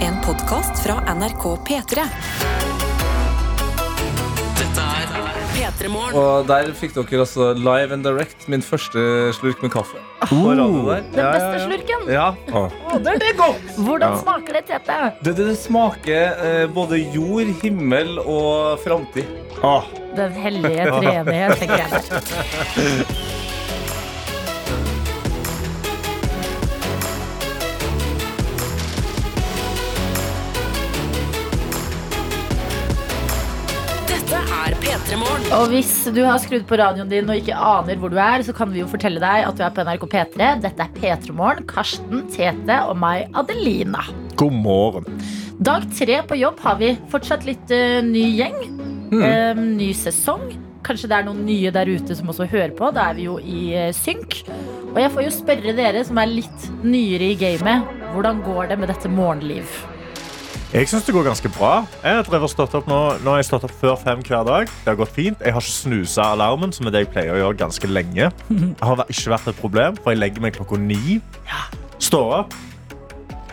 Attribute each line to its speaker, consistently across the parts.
Speaker 1: En podkast fra NRK P3.
Speaker 2: Og der fikk dere altså live and direct min første slurk med kaffe. På radio der. Ah.
Speaker 3: Den beste slurken.
Speaker 4: Ja.
Speaker 2: Å.
Speaker 4: Å, det er det godt!
Speaker 3: Hvordan smaker det, Tete?
Speaker 4: Det, det, det smaker eh, både jord, himmel og framtid.
Speaker 3: Den hellige treenighet, tenker jeg. der.
Speaker 1: Dette er P3 Morgen.
Speaker 3: Og hvis du har skrudd på radioen din og ikke aner hvor du er, så kan vi jo fortelle deg at du er på NRK P3. Dette er P3 Morgen, Karsten, Tete og meg, Adelina.
Speaker 4: God morgen.
Speaker 3: Dag tre på jobb har vi fortsatt litt eh, ny gjeng.
Speaker 5: Mm.
Speaker 3: Eh, ny sesong. Kanskje det er noen nye der ute som også hører på. Da er vi jo i eh, synk. Og jeg får jo spørre dere som er litt nyere i gamet, hvordan går det med dette morgenliv?
Speaker 5: Jeg syns det går ganske bra. Jeg har drevet og stått opp nå, nå har jeg stått opp før fem hver dag. Det har gått fint. Jeg har ikke snusa alarmen, som er det jeg pleier å gjøre ganske lenge. Det har væ- ikke vært et problem, for jeg legger meg klokka ni. Står opp.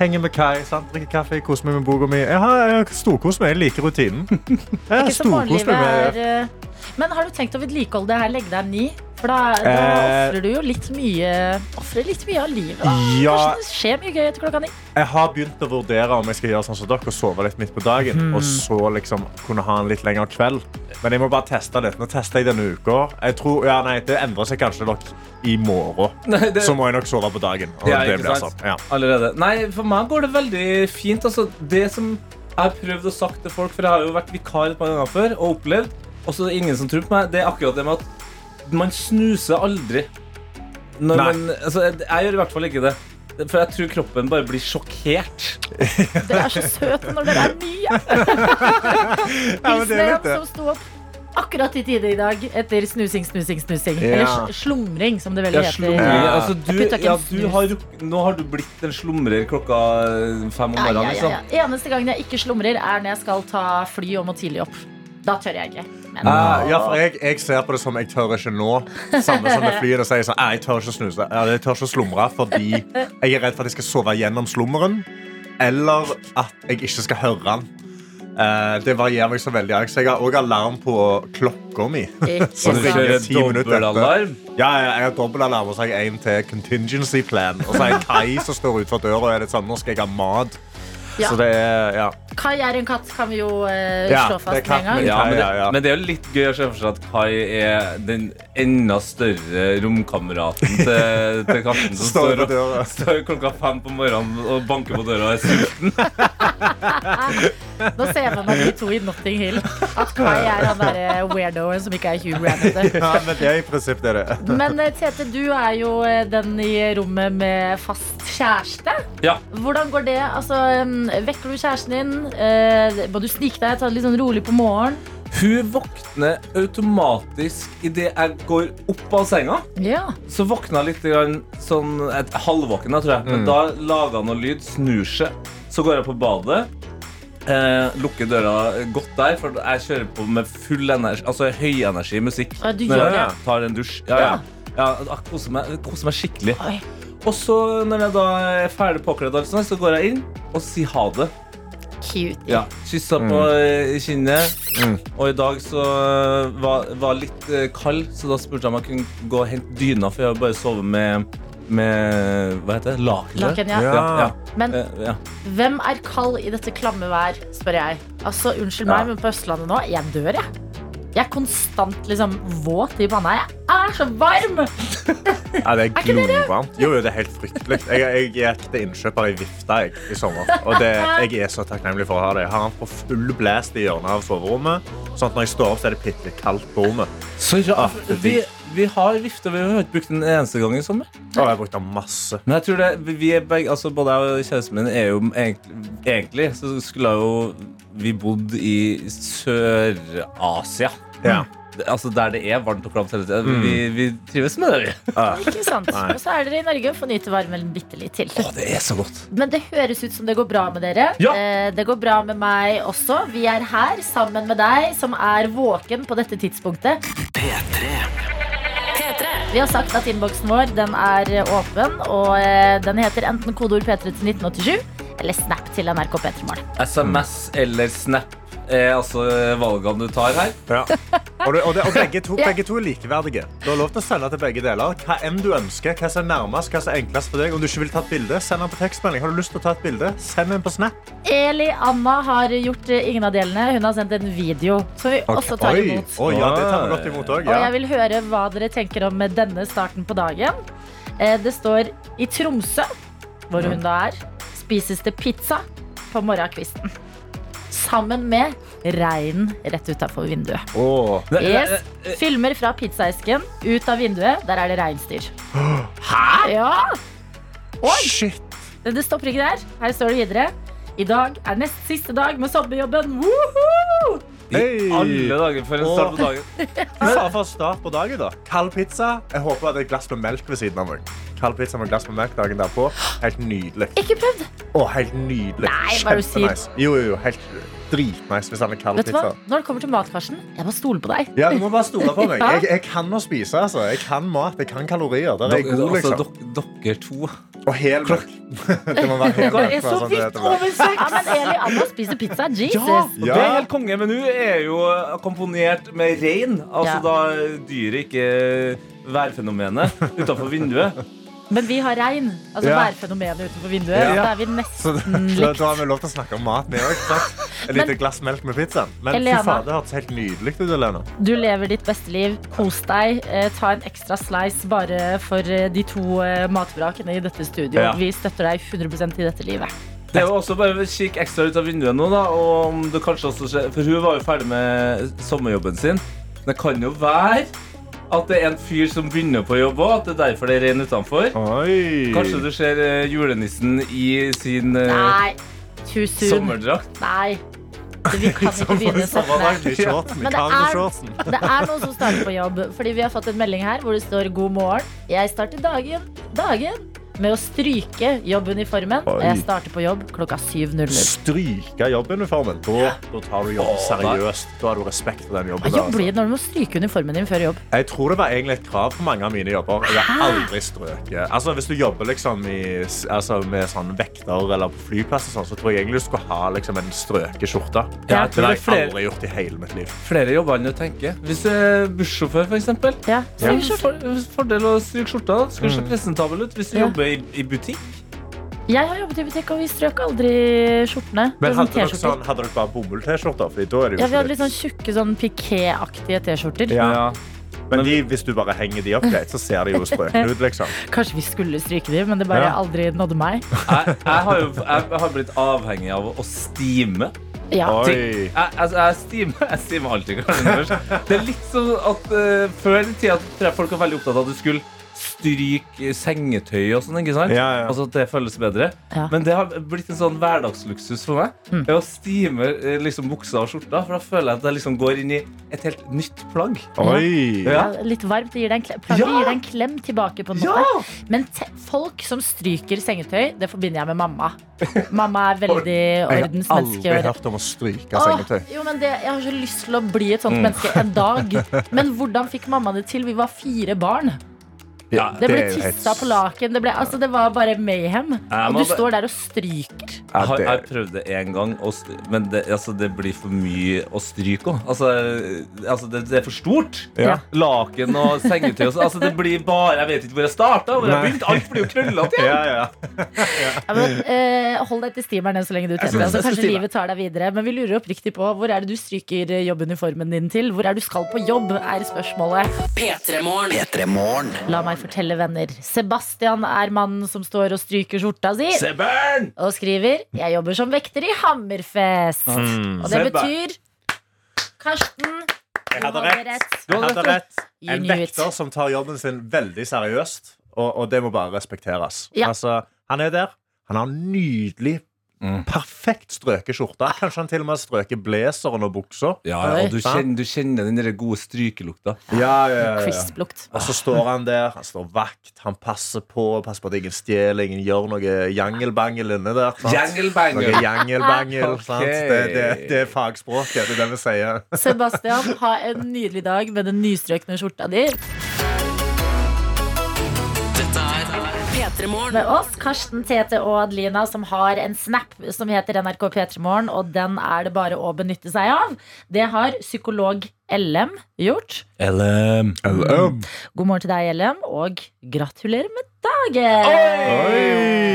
Speaker 5: Henger med Kai, sant? drikker kaffe, koser meg med boka mi. Jeg, har- jeg storkoser meg. Jeg liker rutinen. Jeg
Speaker 3: Ikke så
Speaker 5: storkoser
Speaker 3: morgenlivet
Speaker 5: meg med
Speaker 3: er
Speaker 5: det.
Speaker 3: eh, Men har du tenkt å vedlikeholde det her, legge deg ni? For da, da
Speaker 5: Eh.
Speaker 3: ofrer du jo litt mye Ofrer litt mye av livet. Da.
Speaker 5: Ja.
Speaker 3: Kanskje det skjer mye gøy etter klokka ni.
Speaker 5: Jeg har begynt å vurdere om jeg skal gjøre sånn som dere og sove litt midt på dagen. Og så liksom kunne ha en litt lengre kveld. Men jeg må bare teste litt. Nå tester jeg denne uka. Jeg tror, ja, nei, det endrer seg kanskje nok i morgen.
Speaker 2: Nei, det-
Speaker 5: Så må jeg nok sove på dagen. Og
Speaker 2: Ja,
Speaker 5: det
Speaker 2: ikke
Speaker 5: blir
Speaker 2: sant?
Speaker 5: sånn. Ja.
Speaker 2: Allerede. Nei, for meg går det veldig fint. Altså, det som jeg har prøvd å sagt til folk, for jeg har jo vært vikar et par ganger før og opplevd, og så er det ingen som tror på meg, det er akkurat det med at man snuser aldri. Når
Speaker 5: Nei.
Speaker 2: man, altså, jeg, jeg gjør i hvert fall ikke det. For jeg tror kroppen bare blir sjokkert.
Speaker 3: Dere er så søte når dere er nye.
Speaker 5: Ja, men det er litt
Speaker 3: Islam
Speaker 5: det.
Speaker 3: som sto opp akkurat i tide i dag etter snusing, snusing, snusing.
Speaker 5: Ja.
Speaker 3: Eller sl- slumring, som det vel
Speaker 2: Jeg
Speaker 3: heter.
Speaker 2: slumrer.
Speaker 5: Ja.
Speaker 2: Altså,
Speaker 3: Jeg
Speaker 2: du,
Speaker 3: putta ikke
Speaker 2: ja,
Speaker 3: en
Speaker 2: du
Speaker 3: snus.
Speaker 2: har, ruk- nå har du blitt en slumrer klokka fem om
Speaker 3: Ja, ja,
Speaker 2: morgenen.
Speaker 3: ja,
Speaker 2: Liksom.
Speaker 3: ja. Eneste gangen jeg ikke slumrer, er når jeg skal ta fly og må tidlig opp. Da tør jeg ikke. Men
Speaker 5: Ah, ja, for jeg, jeg ser på det som jeg tør ikke nå. Samme som med flyene sier sånn, «Nei, jeg tør ikke å snuse. Eller jeg tør ikke å slumre fordi jeg er redd for at jeg skal sove gjennom slummeren. Eller at jeg ikke skal høre den. Eh, det varierer meg så veldig. Så jeg har òg alarm på klokka mi.
Speaker 3: Ikke
Speaker 5: Som
Speaker 3: sant.
Speaker 5: ringer ti minutter etter.
Speaker 2: dobbelalarm.
Speaker 5: Ja, ja, jeg har dobbelalarm, og så har jeg en til contingency plan. Og så har jeg Kai som står utenfor døra og er litt sånn Nå skal jeg ha mat.
Speaker 3: Ja.
Speaker 5: Så det er ja.
Speaker 3: Kai er en katt, kan vi jo eh,
Speaker 5: Ja,
Speaker 3: slå fast
Speaker 5: det er
Speaker 3: med en gang.
Speaker 5: katten min.
Speaker 2: Ja, men, det,
Speaker 5: Ja, ja, ja.
Speaker 2: men det er jo litt gøy å se for seg at Kai er den enda større romkameraten til, til Karsten. Som
Speaker 5: Står
Speaker 2: står
Speaker 5: på
Speaker 2: og
Speaker 5: døra.
Speaker 2: står klokka fem på morgenen og banker på døra og er sulten.
Speaker 3: Nå ser jeg for meg de to i Notting Hill. At Kai er han derre weirdoen som ikke er Hugh Grant.
Speaker 5: Ja, men det er i prinsippet det det. er.
Speaker 3: Men eh, Tete, du er jo eh, den i rommet med fast kjæreste.
Speaker 2: Ja.
Speaker 3: Hvordan går det? Altså, em, vekker du kjæresten din? Eh, Må du snike deg? Ta det litt sånn rolig på morgenen?
Speaker 2: Hun våkner automatisk idet jeg går opp av senga.
Speaker 3: Ja.
Speaker 2: Så våkner jeg litt grann, sånn et halvvåken, da, tror jeg. Men da lager han noe lyd, snur seg. Så går jeg på badet. Eh, lukker døra godt der, for jeg kjører på med full energi, altså høyenergi musikk.
Speaker 3: Ja, du
Speaker 2: når
Speaker 3: gjør
Speaker 2: jeg
Speaker 3: det.
Speaker 2: tar en dusj. Ja, ja. ja jeg koser meg, jeg koser meg skikkelig.
Speaker 3: Oi.
Speaker 2: Og så når jeg da er ferdig påkledd, og alt sånt, så går jeg inn og sier ha det.
Speaker 3: Cute.
Speaker 2: Ja, Kyssa på eh, kinnet. Og i dag så eh, var, var litt eh, kald, så da spurte jeg om jeg kunne gå og hente dyna, for jeg har bare sovet med, med Hva heter det? Laken.
Speaker 3: Laken, ja.
Speaker 2: Ja, ja.
Speaker 3: Men
Speaker 2: Eh, ja.
Speaker 3: hvem er kald i dette klamme vær, spør jeg. Altså, Unnskyld
Speaker 2: Ja.
Speaker 3: meg, men på Østlandet nå, jeg dør, jeg. Jeg er konstant liksom våt i panna. Jeg er så varm!
Speaker 5: Ja, det er glovarmt. Jo, jo, det er helt fryktelig. Jeg, jeg gikk til innkjøper i Vifta jeg, i sommer. Og det, jeg er så takknemlig for å ha det. Jeg har den på full blast i hjørnet av soverommet. Sånn at når jeg står opp, så er det bitte litt kaldt på rommet.
Speaker 2: Så rart.
Speaker 5: det er
Speaker 2: Vi, vi har vifta, vi har ikke brukt den en eneste gang i sommer.
Speaker 5: Og jeg brukte den masse.
Speaker 2: Men jeg tror det, vi- vi er begge, altså Både jeg og kjæresten min er jo egentlig, egentlig Så skulle jeg jo vi bodd i Sør-Asia.
Speaker 5: Ja.
Speaker 2: Det- Altså Der det er varmt og klamt hele tiden. Vi, vi trives med det, vi.
Speaker 3: Ikke sant?
Speaker 5: Nei.
Speaker 3: Og så er dere i Norge og får nyte varmen bitte litt til.
Speaker 2: Å, det er så godt.
Speaker 3: Men det høres ut som det går bra med dere.
Speaker 2: Ja.
Speaker 3: Eh, Det går bra med meg også. Vi er her sammen med deg som er våken på dette tidspunktet. Vi har sagt at innboksen vår den er åpen, og eh, den heter enten kodeord P3 til 1987 eller snap til NRK P3morgen.
Speaker 2: SMS eller Snap er altså valgene du tar her.
Speaker 5: Ja. Og, det, og, det, og begge, to,
Speaker 3: Ja.
Speaker 5: begge to er likeverdige. Du har lov til å sende til begge deler. Hva enn du ønsker, hva som er nærmest, hva som er enklest for deg. Om du ikke vil ta et bilde, send den på tekstmelding. Har du lyst til å ta et bilde, send den på Snap.
Speaker 3: Eli Anna har gjort eh, ingen av delene. Hun har sendt en video som vi også tar
Speaker 5: Oi.
Speaker 3: imot.
Speaker 5: Oi, ja, det tar vi godt imot òg.
Speaker 3: Og jeg
Speaker 5: Ja.
Speaker 3: vil høre hva dere tenker om denne starten på dagen. Eh, Det står i Tromsø, hvor hun da er, spises det pizza på morgenkvisten. Sammen med regn rett utafor vinduet.
Speaker 5: Åh.
Speaker 2: Eh,
Speaker 3: Yes. Filmer fra pizzaesken, ut av vinduet, der er det reinsdyr. Hæ?! Ja,
Speaker 5: Shit.
Speaker 3: men Det stopper ikke der. Her står det videre. I dag er nest siste dag med sommerjobben. Woohoo!
Speaker 5: Hey.
Speaker 2: Alle dager for en start på dagen.
Speaker 5: Hva faen for start på dagen, da? Kald pizza. Jeg håper at det er et glass med melk ved siden av meg. Kald pizza med glass med melk dagen derpå. Helt nydelig.
Speaker 3: Ikke prøvd.
Speaker 5: Å, helt nydelig.
Speaker 3: Nei, hva er det du sier?
Speaker 5: Kjempenice. Jo, jo, jo. Helt dritnice hvis han er kald
Speaker 3: Vet du hva?
Speaker 5: pizza.
Speaker 3: Når det kommer til matkarsen, jeg må stole på deg.
Speaker 5: Ja, Du må bare stole på meg.
Speaker 3: Ja.
Speaker 5: Jeg, jeg kan å spise. altså. Jeg kan mat, jeg kan kalorier. Der er jeg god,
Speaker 2: Altså,
Speaker 5: liksom.
Speaker 2: dok- dere to
Speaker 5: Og hel melk. Det må være hel melk. bare sånn at det heter melk.
Speaker 3: Ja, men Eli Anna spiser pizza. Jesus.
Speaker 2: Ja. Det er helt konge, men hun er jo komponert med rein. Altså
Speaker 3: Ja.
Speaker 2: da dyret ikke værfenomenet utafor vinduet.
Speaker 3: Men vi har regn. Altså
Speaker 5: Ja.
Speaker 3: Værfenomenet utenfor vinduet.
Speaker 5: Ja.
Speaker 3: Da er vi
Speaker 5: Så
Speaker 3: nesten
Speaker 5: da, da- da har vi lov til å snakke om mat, vi òg. Et lite glass melk med pizzaen. Men fy
Speaker 3: Elena.
Speaker 5: faen, det hørtes helt nydelig ut. Elena.
Speaker 3: Du lever ditt beste liv. Kos deg. Eh, ta en ekstra slice bare for eh, de to eh, matvrakene i dette studio.
Speaker 2: Ja.
Speaker 3: Vi støtter deg 100 i dette livet.
Speaker 2: Det er jo også bare kikk ekstra ut av vinduet nå, da. Og om du kanskje også ser, For hun var jo ferdig med sommerjobben sin. Men Det kan jo være at det er en fyr som begynner på jobb òg, at det er derfor det er rein utenfor.
Speaker 5: Oi.
Speaker 2: Kanskje du ser eh, julenissen i sin eh,
Speaker 3: Nei. Too soon.
Speaker 2: sommerdrakt.
Speaker 3: Nei. Vi kan ikke begynne
Speaker 5: Samme dag,
Speaker 3: sånn.
Speaker 5: i shortsen.
Speaker 3: Men det
Speaker 5: Karen med
Speaker 3: er-
Speaker 5: shortsen.
Speaker 3: Det er noen som starter på jobb. Fordi vi har fått en melding her hvor det står 'God morgen'. Jeg starter dagen, dagen med å stryke jobbuniformen. Og jeg starter på jobb klokka 7.00.
Speaker 5: Stryke jobbuniformen. Da, da tar du jobben
Speaker 2: Å, nei.
Speaker 5: seriøst. Da har du respekt for den jobben.
Speaker 3: Hva
Speaker 5: der,
Speaker 3: jobb
Speaker 5: altså.
Speaker 3: blir det når du må stryke uniformen din før jobb?
Speaker 5: Jeg tror det var egentlig et krav på mange av mine jobber. Jeg har aldri strøket. Altså, hvis du jobber liksom i, s- altså, med sånn vekter eller på flyplass, og sånn, så tror jeg egentlig du skulle ha liksom, en strøkeskjorte.
Speaker 2: Ja,
Speaker 5: Det har jeg
Speaker 2: flere-
Speaker 5: aldri gjort i hele mitt liv.
Speaker 2: Flere jobber enn du tenker. Hvis du er bussjåfør, for eksempel.
Speaker 3: Ja. Mm.
Speaker 2: Så er det jo for, fordel å stryke skjorta. da. Skal du se presentabel ut hvis du
Speaker 3: Ja.
Speaker 2: jobber i, i butikk.
Speaker 3: Jeg har jobbet i butikk, og vi strøk aldri skjortene. Det
Speaker 5: Men hadde
Speaker 3: var sånn
Speaker 5: dere,
Speaker 3: T-skjorter.
Speaker 5: sånn, hadde dere bare bomull-T-skjorter? Fordi da er det jo
Speaker 3: Ja, vi hadde
Speaker 5: ikke
Speaker 3: litt sånn tjukke sånn piké-aktige T-skjorter.
Speaker 5: ja. Men de, hvis du bare henger de opp greit, så ser de jo strøkne ut, liksom.
Speaker 3: Kanskje vi skulle stryke dem, men det bare
Speaker 5: Ja.
Speaker 3: aldri nådde meg.
Speaker 2: Jeg, jeg, har jo, jeg har blitt avhengig av å stime.
Speaker 3: Ja.
Speaker 5: Oi.
Speaker 2: Jeg, altså, jeg, stimer, jeg stimer alltid kanskje først. Det er litt sånn at eh, Før i tida tror jeg folk var veldig opptatt av at du skulle stryke sengetøy og sånn. ikke sant?
Speaker 5: Ja, ja.
Speaker 2: Altså at det føles bedre.
Speaker 3: Ja.
Speaker 2: Men det har blitt en sånn hverdagsluksus for meg. Det Å stime eh, liksom, buksa og skjorta. For da føler jeg at jeg liksom går inn i et helt nytt plagg.
Speaker 5: Oi.
Speaker 2: Ja.
Speaker 3: Ja, Litt varmt. Det gir deg en klem, plagget
Speaker 2: Ja.
Speaker 3: gir deg en klem tilbake. på en måte Men te folk som stryker sengetøy, det forbinder jeg med mamma. Mamma er veldig
Speaker 5: Jeg har
Speaker 3: ordensmenneske.
Speaker 5: aldri
Speaker 3: og-
Speaker 5: hørt om å stryke
Speaker 3: Åh,
Speaker 5: sengetøy. Mm.
Speaker 3: jo, men det, jeg har så lyst til å bli et sånt menneske en dag. Men hvordan fikk mamma det til? Vi var fire barn.
Speaker 5: Ja,
Speaker 3: Det ble
Speaker 5: er jo helt-
Speaker 3: tissa på laken. Det, ble, altså, det var bare mayhem.
Speaker 2: Jeg
Speaker 3: Og
Speaker 2: må
Speaker 3: du
Speaker 2: bare-
Speaker 3: står der og stryker.
Speaker 2: Jeg, har,
Speaker 5: det-
Speaker 2: jeg prøvde det én gang, og st- men det, altså, det blir for mye å stryke òg. Altså, altså, det, det er for stort.
Speaker 3: Ja.
Speaker 2: Laken og sengetøy og sånn. Altså, det blir bare Jeg vet ikke hvor jeg starta. Hvor jeg
Speaker 5: Nei.
Speaker 2: begynte. Alt blir jo krøllete.
Speaker 5: Ja, ja.
Speaker 3: Ja, men, eh, hold deg til steameren enn så lenge du tester.
Speaker 2: synes
Speaker 3: Altså,
Speaker 2: jeg skal
Speaker 3: kanskje
Speaker 2: stime.
Speaker 3: livet tar deg videre. Men vi lurer oppriktig på hvor er det du stryker eh, jobbuniformen din til? Hvor er det du skal på jobb, er spørsmålet.
Speaker 1: P3morgen.
Speaker 3: La meg fortelle, venner. Sebastian er mannen som står og stryker skjorta si
Speaker 2: Sebern!
Speaker 3: og skriver 'Jeg jobber som vekter i Hammerfest'. Og det
Speaker 2: Sebbe.
Speaker 3: betyr Karsten,
Speaker 5: Mm. Jeg
Speaker 3: du
Speaker 5: hadde
Speaker 3: hadde
Speaker 5: rett.
Speaker 3: rett.
Speaker 5: Jeg hadde rett.
Speaker 3: You
Speaker 5: En
Speaker 3: knew it.
Speaker 5: vekter som tar jobben sin veldig seriøst, og, og det må bare respekteres.
Speaker 3: Ja.
Speaker 5: Altså, han er der. Han har nydelig,
Speaker 2: Mm.
Speaker 5: perfekt strøket skjorte. Kanskje han til og med har strøket blazeren og buksa.
Speaker 2: Ja,
Speaker 3: Oi.
Speaker 2: ja, og du kjenner, du kjenner den der gode strykelukta.
Speaker 5: Ja, ja,
Speaker 3: Crisp lukt.
Speaker 5: Og så står han der, han står vakt, han passer på, passer på at ingen stjeler, ingen gjør noe jangelbangel inne der. sant?
Speaker 2: Jangelbangel.
Speaker 5: Noe jangelbangel, sant?
Speaker 2: Ok.
Speaker 5: Det, det, det er fagspråket, det er det vi sier.
Speaker 3: Sebastian, ha en nydelig dag med den nystrøkne skjorta di.
Speaker 1: P3 P3morgen.
Speaker 3: med oss, Karsten, Tete og Adelina, som har en snap som heter NRK P3morgen, og den er det bare å benytte seg av. Det har psykolog LM gjort.
Speaker 2: LM.
Speaker 3: God morgen til deg, LM, og gratulerer med dagen!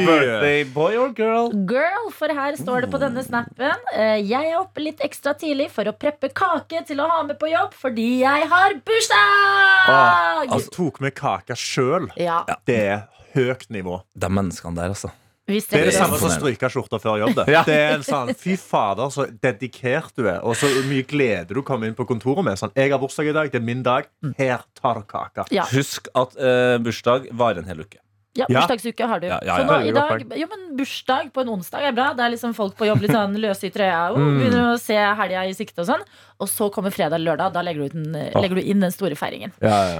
Speaker 2: Birthday boy or girl?
Speaker 3: Girl, for her står det på denne snappen eh, Jeg er oppe litt ekstra tidlig for å preppe kake til å ha med på jobb fordi jeg har bursdag!
Speaker 5: Altså, tok med kaka sjøl.
Speaker 3: ja,
Speaker 5: Det er høyt nivå.
Speaker 2: De menneskene der, altså.
Speaker 3: vi
Speaker 5: Det er det
Speaker 2: er
Speaker 5: samme
Speaker 3: strekker oss.
Speaker 5: som stryka skjorta før jobb. Det. det er en sånn, Fy fader, så dedikert du er, og så mye glede du kommer inn på kontoret med. Sånn, 'Jeg har bursdag i dag. Det er min dag. Her tar du kaka.'
Speaker 3: Ja.
Speaker 2: Husk at eh, bursdag varer en hel uke.
Speaker 3: Ja,
Speaker 5: Ja.
Speaker 3: bursdagsuke har du.
Speaker 2: Ja, ja, ja.
Speaker 3: Så nå,
Speaker 5: Veldig
Speaker 3: i
Speaker 5: godt
Speaker 3: dag, jo, men bursdag på en onsdag er bra. Det er liksom folk på jobb litt sånn løse i trøya. Og begynner å se helga i sikte og sånn. Og så kommer fredag eller lørdag. Da legger du, ut den, legger du inn den store feiringen.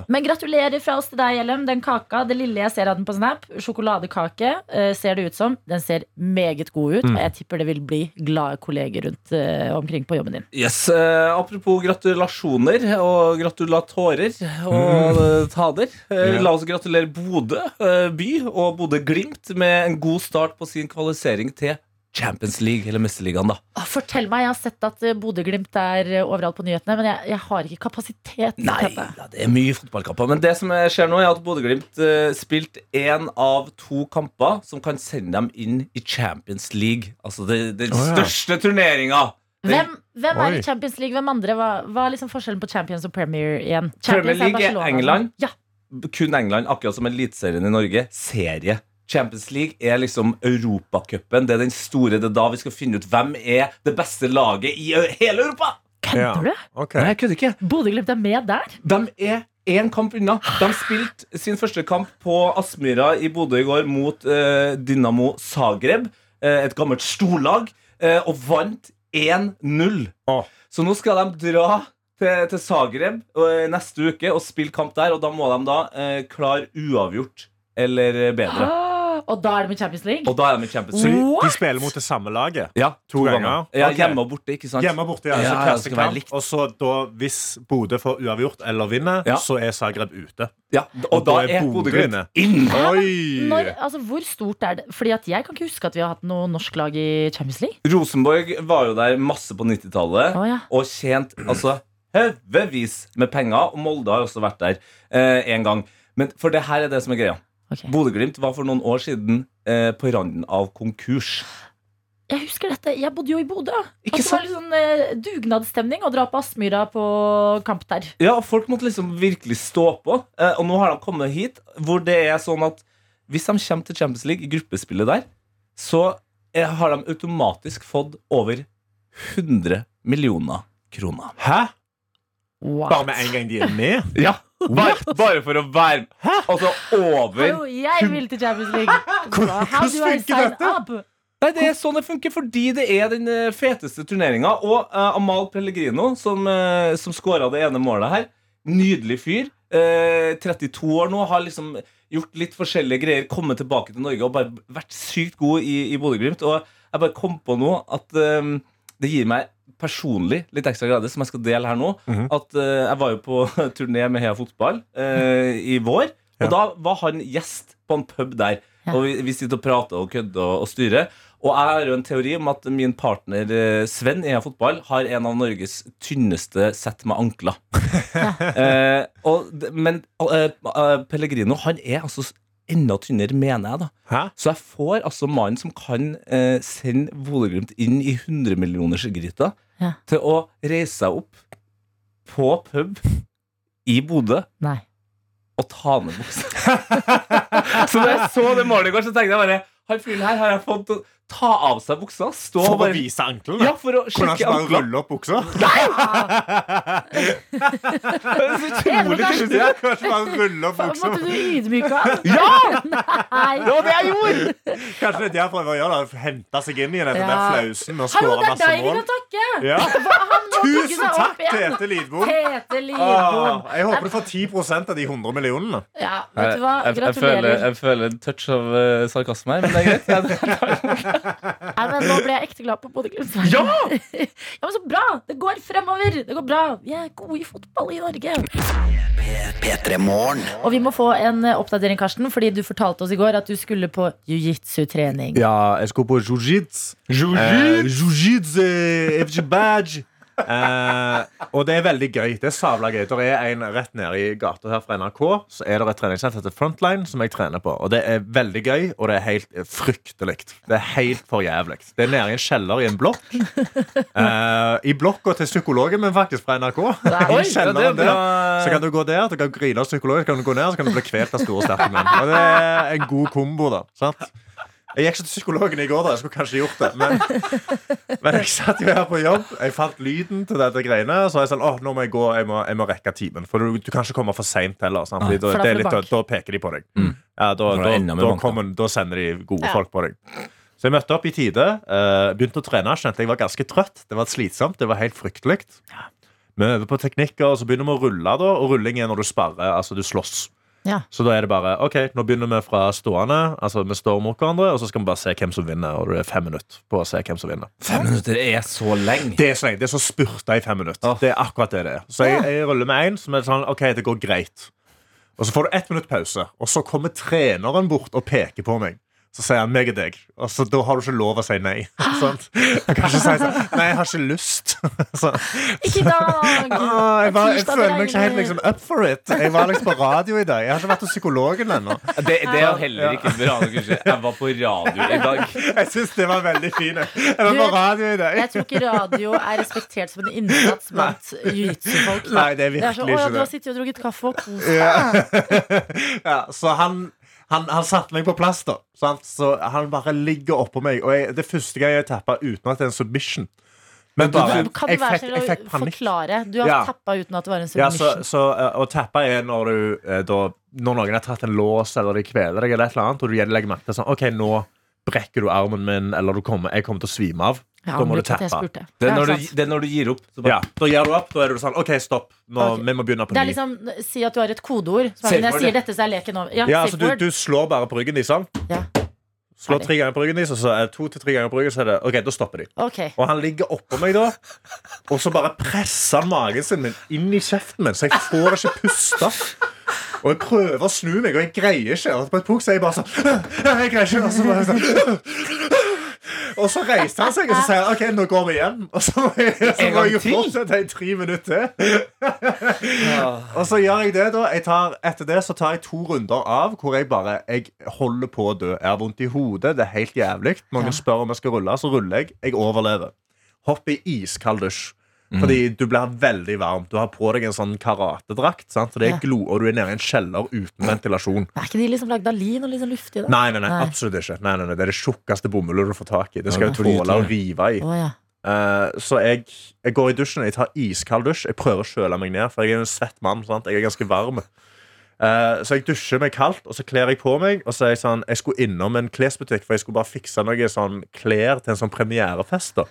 Speaker 3: Men gratulerer fra oss til deg, Ellem. Den kaka, det lille jeg ser av den på Snap, sjokoladekake, eh, ser det ut som. Den ser meget god
Speaker 2: Mm.
Speaker 3: ut, og jeg tipper det vil bli glade kolleger rundt eh, omkring på jobben din.
Speaker 2: Yes, eh, Apropos gratulasjoner og gratulatårer og eh, tader. Eh,
Speaker 5: Mm. Ja.
Speaker 2: La oss gratulere Bodø eh, by og Bodø-Glimt med en god start på sin kvalifisering til Champions League, eller Mesterligaen, da.
Speaker 3: Å, fortell meg, jeg har sett at eh, Bodø-Glimt er eh, overalt på nyhetene, men jeg, jeg har ikke kapasitet til
Speaker 2: Nei,
Speaker 3: dette.
Speaker 2: ja, det er mye fotballkamper. Men det som eh, skjer nå, er at Bodø-Glimt eh, spilte én av to kamper som kan sende dem inn i Champions League. Altså det- den
Speaker 5: Å, ja.
Speaker 2: største turneringa.
Speaker 3: Hvem, hvem er
Speaker 5: Oi.
Speaker 3: i Champions League? Hvem andre? Hva, hva er liksom forskjellen på Champions og Premier igjen?
Speaker 2: Premier
Speaker 3: Champions
Speaker 2: League er
Speaker 3: Barcelona.
Speaker 2: England.
Speaker 3: Ja,
Speaker 2: Kun England, akkurat som Eliteserien i Norge, serie. Champions League er liksom Europacupen. Det er den store, det er da vi skal finne ut hvem er det beste laget i ø- hele Europa!
Speaker 5: Ja.
Speaker 3: Kødder
Speaker 5: Ok.
Speaker 2: Nei, jeg kødder ikke.
Speaker 3: du? Bodø-Glimt er med der?
Speaker 2: De er én kamp unna. De spilte sin første kamp på Aspmyra i Bodø i går mot eh, Dynamo Zagreb, eh, et gammelt storlag, eh, og vant 1-0.
Speaker 5: Åh.
Speaker 2: Så nå skal de dra til, til Zagreb eh, neste uke og spille kamp der, og da må de da eh, klare uavgjort eller bedre.
Speaker 3: Ah, Og da er det med Champions League?
Speaker 2: Og da er de i Champions
Speaker 5: Så
Speaker 2: League.
Speaker 5: de
Speaker 3: What?
Speaker 5: spiller mot det samme laget?
Speaker 2: Ja,
Speaker 5: To ganger?
Speaker 2: Ja,
Speaker 5: Ok.
Speaker 2: Hjemme og borte, ikke sant?
Speaker 5: Hjemme og borte, ja.
Speaker 2: Ja,
Speaker 5: Så
Speaker 2: ja,
Speaker 5: hver
Speaker 2: det skal
Speaker 5: sin
Speaker 2: være
Speaker 5: kamp.
Speaker 2: likt.
Speaker 5: Og så da, hvis Bodø får uavgjort eller vinner,
Speaker 2: Ja.
Speaker 5: så er Zagreb ute.
Speaker 2: Ja, og, da er Bodø-Glimt
Speaker 5: inne.
Speaker 2: inn!
Speaker 3: Når,
Speaker 5: Oi!
Speaker 3: altså, hvor stort er det? Fordi at Jeg kan ikke huske at vi har hatt noe norsk lag i Champions League.
Speaker 2: Rosenborg var jo der masse på 90-tallet.
Speaker 3: Å, ja.
Speaker 2: og tjent altså høvevis med penger. Og Molde har også vært der eh, en gang. Men for det her er det som er greia.
Speaker 3: Ok.
Speaker 2: Bodø-Glimt var for noen år siden eh, på randen av konkurs.
Speaker 3: Jeg husker dette, jeg bodde jo i Bodø.
Speaker 2: Ikke
Speaker 3: At det var litt sånn eh, dugnadsstemning å dra på Aspmyra på kamp der.
Speaker 2: Ja, og folk måtte liksom virkelig stå på. Eh, og nå har de kommet hit, hvor det er sånn at hvis de kommer til Champions League i gruppespillet der, så eh, har de automatisk fått over 100 millioner kroner.
Speaker 5: Hæ?
Speaker 3: Wow.
Speaker 5: Bare med en gang de er med?
Speaker 2: Ja, bare, bare for å være Altså over
Speaker 3: Hallo, jeg vil til Champions League! How do I
Speaker 5: funker
Speaker 3: sign
Speaker 5: dette?
Speaker 3: up?
Speaker 2: Nei, det er sånn det funker, fordi det er den eh, feteste turneringa. Og eh, Amal Pellegrino, som, uh, som skåra det ene målet her, nydelig fyr. eh, 32 år nå, har liksom gjort litt forskjellige greier, kommet tilbake til Norge og bare vært sykt god i, i Bodø-Glimt. Og jeg bare kom på nå at eh, det gir meg personlig litt ekstra glede, som jeg skal dele her nå,
Speaker 5: Mhm.
Speaker 2: at eh, jeg var jo på turné med Heia Fotball eh, i vår,
Speaker 5: Ja.
Speaker 2: og da var han gjest på en pub der.
Speaker 3: Ja.
Speaker 2: Og vi, vi sitter og prater og kødder og, og styrer. Og jeg har jo en teori om at min partner eh, Sven i Heia Fotball har en av Norges tynneste sett med ankler. eh, og, d- men eh, eh, Pellegrino, han er altså s- enda tynnere, mener jeg, da.
Speaker 5: Hæ?
Speaker 2: Så jeg får altså mannen som kan eh, sende Bodø-Glimt inn i 100-millionersgryta,
Speaker 3: Ja.
Speaker 2: til å reise seg opp på pub i Bodø
Speaker 3: Nei.
Speaker 2: og ta ned buksa. så da jeg så det målet i går, så tenkte jeg bare Han fyren her har jeg fått til å ta av seg buksa. Stå og
Speaker 5: For å
Speaker 2: bare
Speaker 5: vise anklene?
Speaker 2: ja, for å
Speaker 5: Kunne han
Speaker 2: sjekke
Speaker 5: ikke bare
Speaker 2: anklene.
Speaker 5: rulle opp buksa?
Speaker 2: Det er så utrolig
Speaker 3: Eller
Speaker 2: tullete.
Speaker 5: Ja, Kunne han ikke bare rulle opp buksa?
Speaker 3: Måtte du ydmyke han? Ja! Nei.
Speaker 2: Det var det jeg gjorde!
Speaker 5: Kanskje det er det jeg prøver å gjøre? da, Hente seg inn i den
Speaker 3: Ja.
Speaker 5: flausen og
Speaker 3: Hallo,
Speaker 5: skåre
Speaker 3: det er
Speaker 5: masse
Speaker 3: deg vi
Speaker 5: mål?
Speaker 3: kan takke!
Speaker 5: Ja.
Speaker 3: Hva- Han bygge
Speaker 5: Tusen
Speaker 3: seg opp
Speaker 5: takk,
Speaker 3: igjen.
Speaker 5: Tete Lidbom!
Speaker 3: Tete Lidbom.
Speaker 5: Ah, jeg håper du får 10 av de 100 millionene.
Speaker 3: Ja,
Speaker 2: Jeg,
Speaker 3: vet du hva?
Speaker 2: jeg, jeg, føler,
Speaker 3: Gratulerer.
Speaker 2: jeg føler en touch av eh, sarkasme her, men det er greit.
Speaker 3: Nei, men nå ble jeg ekte glad på Bodø-Glimt. Ja! men så bra! Det går fremover. Det går bra. Vi er gode i fotball i Norge. Og vi må få en eh, oppdatering, Karsten, fordi du fortalte oss i går at du skulle på jiu-jitsu-trening.
Speaker 5: Ja, jeg skulle på jiu-jitsu. Eh, Jiu-jitsu eh, FG badge. Eh, og det er veldig gøy. Det er sabla gøy. Det er en rett nede i gata her fra NRK Så er det et treningssenter til Frontline som jeg trener på. Og det er veldig gøy, og det er helt eh, fryktelig. Det er helt for jævlig. Det er nede i en kjeller i en blokk. Eh, I blokka til psykologen min, faktisk, fra NRK. I kjelleren der. Så kan du gå der, du kan grine av psykologen, så kan du gå ned, så kan du bli kvelt av store, sterke menn. Og det er en god kombo, da. Sant? Jeg gikk ikke til psykologen i går, da. Jeg skulle kanskje gjort det. Men, men jeg satt jo her på jobb. Jeg fant lyden til dette greiene. Så jeg sånn, åh, nå må jeg gå, jeg må, jeg må rekke timen. For du, du kan ikke komme for seint heller. Sant? Fordi da,
Speaker 3: For da
Speaker 5: det er
Speaker 3: får du
Speaker 5: litt, da,
Speaker 3: bank.
Speaker 5: da peker de på deg. Ja, da,
Speaker 2: Mm. Da får du
Speaker 5: da,
Speaker 2: enda mer
Speaker 5: da,
Speaker 2: bank, da.
Speaker 5: kommer, da sender de gode folk på deg. Så jeg møtte opp i tide, eh, begynte å trene. Skjønte jeg var ganske trøtt. Det var slitsomt. Det var helt fryktelig. Vi øver på teknikker, og så begynner vi å rulle. da Og rulling er når du sparrer. Altså du slåss.
Speaker 3: Ja.
Speaker 5: Så da er det bare OK, nå begynner vi fra stående. Altså Vi står mot hverandre, og så skal vi bare se hvem som vinner. Og det er fem minutter på å se hvem som vinner.
Speaker 2: Fem minutter er så lenge.
Speaker 5: Det er så lenge, det er så spurta i fem minutter. Det er akkurat det det er. Så jeg, jeg ruller med én som er sånn OK, det går greit. Og så får du ett minutt pause, og så kommer treneren bort og peker på meg. Så sier han 'meg og deg', og så da har du ikke lov å si nei. Sant? Jeg kan ikke si sånn 'Nei, jeg har ikke lyst'. Sånn.
Speaker 3: Ikke i dag!
Speaker 5: Ah, jeg, var, jeg
Speaker 3: Tirsdag
Speaker 5: føler meg ikke helt
Speaker 3: regner.
Speaker 5: liksom up for it. Jeg var liksom på radio i dag. Jeg har ikke vært hos psykologen ennå.
Speaker 2: Det, det er jo heller ikke bra. Anders. Jeg var på radio i dag.
Speaker 5: Jeg syns det var veldig fint. Jeg var
Speaker 3: Du-
Speaker 5: på radio i dag.
Speaker 3: Jeg tror ikke radio er respektert som en innsats blant
Speaker 5: Nei,
Speaker 3: jiu-jitsu-folk.
Speaker 5: det er
Speaker 3: Det er
Speaker 5: virkelig
Speaker 3: sånn, Å ja,
Speaker 5: ikke
Speaker 3: du
Speaker 5: det.
Speaker 3: har sittet og drukket kaffe og kost deg.
Speaker 5: Ja, så han, han, han satte meg på plass, da. Sant? Så han bare ligger oppå meg. Og jeg, det er første gang jeg tappa uten at det er en submission. Men bare,
Speaker 3: Du Kan du
Speaker 5: jeg,
Speaker 3: være
Speaker 5: fikk,
Speaker 3: snill
Speaker 5: jeg fikk
Speaker 3: å
Speaker 5: panikk.
Speaker 3: forklare? Du har
Speaker 5: Ja.
Speaker 3: tappa uten at det var en
Speaker 5: Ja, så,
Speaker 3: submission.
Speaker 5: så, eh, å tappe er når, du, eh, da, når noen har tatt en lås eller de kveler deg, eller et eller annet, og du igjen legger merke til sånn, OK, nå brekker du armen min, eller du kommer, jeg kommer til å svime av.
Speaker 3: Ja,
Speaker 5: da må
Speaker 3: men
Speaker 5: du
Speaker 3: det var ikke
Speaker 5: tappe.
Speaker 3: det jeg spurte.
Speaker 2: Det er
Speaker 3: Ja,
Speaker 2: når du,
Speaker 3: sant.
Speaker 2: det er når du gir opp. Så bare,
Speaker 5: Ja, da gir du opp. Da er du sånn OK, stopp. Nå,
Speaker 3: Ok.
Speaker 5: Vi må begynne på
Speaker 3: Det
Speaker 5: ny.
Speaker 3: er liksom, Si at du har et kodeord. Så er det, når jeg
Speaker 2: Safe word,
Speaker 3: sier dette, så er leken over. Ja,
Speaker 5: ja,
Speaker 3: safe
Speaker 5: altså, du,
Speaker 3: word.
Speaker 5: du slår bare på ryggen deres. sant?
Speaker 3: Ja.
Speaker 5: Slår
Speaker 3: Ferdig.
Speaker 5: tre ganger på ryggen deres, og så er det to til tre ganger på ryggen, så er det OK, da stopper de.
Speaker 3: Ok.
Speaker 5: Og han ligger oppå meg da, og så bare presser han magen sin min inn i kjeften min, så jeg får ikke puste. Og jeg prøver å snu meg, og jeg greier ikke. Og på et punkt så er jeg bare sånn Jeg greier ikke. Og så, bare sånn, og så reiser han seg, og så sier han OK, nå går vi igjen. Og så må jeg, så
Speaker 2: En
Speaker 5: må
Speaker 2: gang
Speaker 5: jeg jo
Speaker 2: til?
Speaker 5: fortsette i tre minutter til. Og så gjør jeg det, da. Jeg tar, etter det så tar jeg to runder av hvor jeg bare Jeg holder på å dø. Jeg har vondt i hodet. Det er helt jævlig. Noen spør om jeg skal rulle, så ruller jeg. Jeg overlever. Hopp i iskald dusj.
Speaker 2: Mm.
Speaker 5: Fordi du blir veldig varm. Du har på deg en sånn karatedrakt. Sant? Så det
Speaker 3: Ja.
Speaker 5: er glo, og du er nede i en kjeller uten ventilasjon.
Speaker 3: Er ikke de liksom lagd av lin og liksom luftige? da?
Speaker 5: Nei, nei, nei,
Speaker 3: Nei.
Speaker 5: absolutt ikke. Nei, nei, nei, det er det tjukkeste bomullet du får tak i. Det skal
Speaker 2: det
Speaker 5: jo
Speaker 2: er for
Speaker 5: tåle å
Speaker 2: lite.
Speaker 5: rive i.
Speaker 3: Å, ja.
Speaker 5: Eh, så jeg, jeg går i dusjen, jeg tar iskald dusj. Jeg prøver å kjøle meg ned, for jeg er jo en svett mann. Sant? Jeg er ganske varm. Eh, så jeg dusjer meg kaldt, og så kler jeg på meg. Og så er jeg sånn, jeg skulle innom en klesbutikk, for jeg skulle bare fikse noe sånn klær til en sånn premierefest. da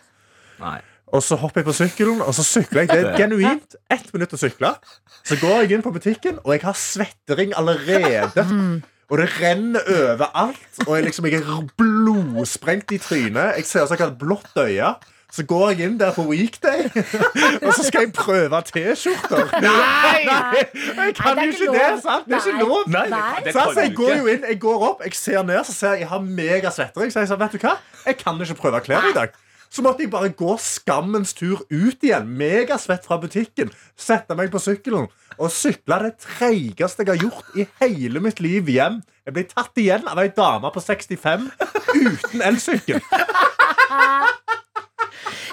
Speaker 2: Nei.
Speaker 5: og så hopper jeg på sykkelen, og så sykler jeg. Det er genuint ett minutt å sykle. Så går jeg inn på butikken, og jeg har svettering allerede. Og det renner overalt. Og jeg, liksom, jeg er blodsprengt i trynet. Jeg ser ut som jeg har et blått øye. Så går jeg inn der på weekday, og så skal jeg prøve T-skjorter. Nei! Jeg kan jo ikke
Speaker 3: Nei, det er ikke
Speaker 5: det,
Speaker 3: lov.
Speaker 5: sant? Det er
Speaker 3: Nei.
Speaker 5: ikke lov.
Speaker 3: Nei, det- Nei.
Speaker 2: det
Speaker 5: Så
Speaker 2: kan
Speaker 5: altså, jeg
Speaker 2: du
Speaker 5: går
Speaker 2: ikke.
Speaker 5: jo inn, jeg går opp, jeg ser ned, så ser jeg jeg har megasvettering. Så jeg sa, vet du hva, jeg kan ikke prøve klær i dag. Så måtte jeg bare gå skammens tur ut igjen, megasvett fra butikken, sette meg på sykkelen og sykle det treigeste jeg har gjort i hele mitt liv hjem. Jeg ble tatt igjen av ei dame på 65 uten elsykkel.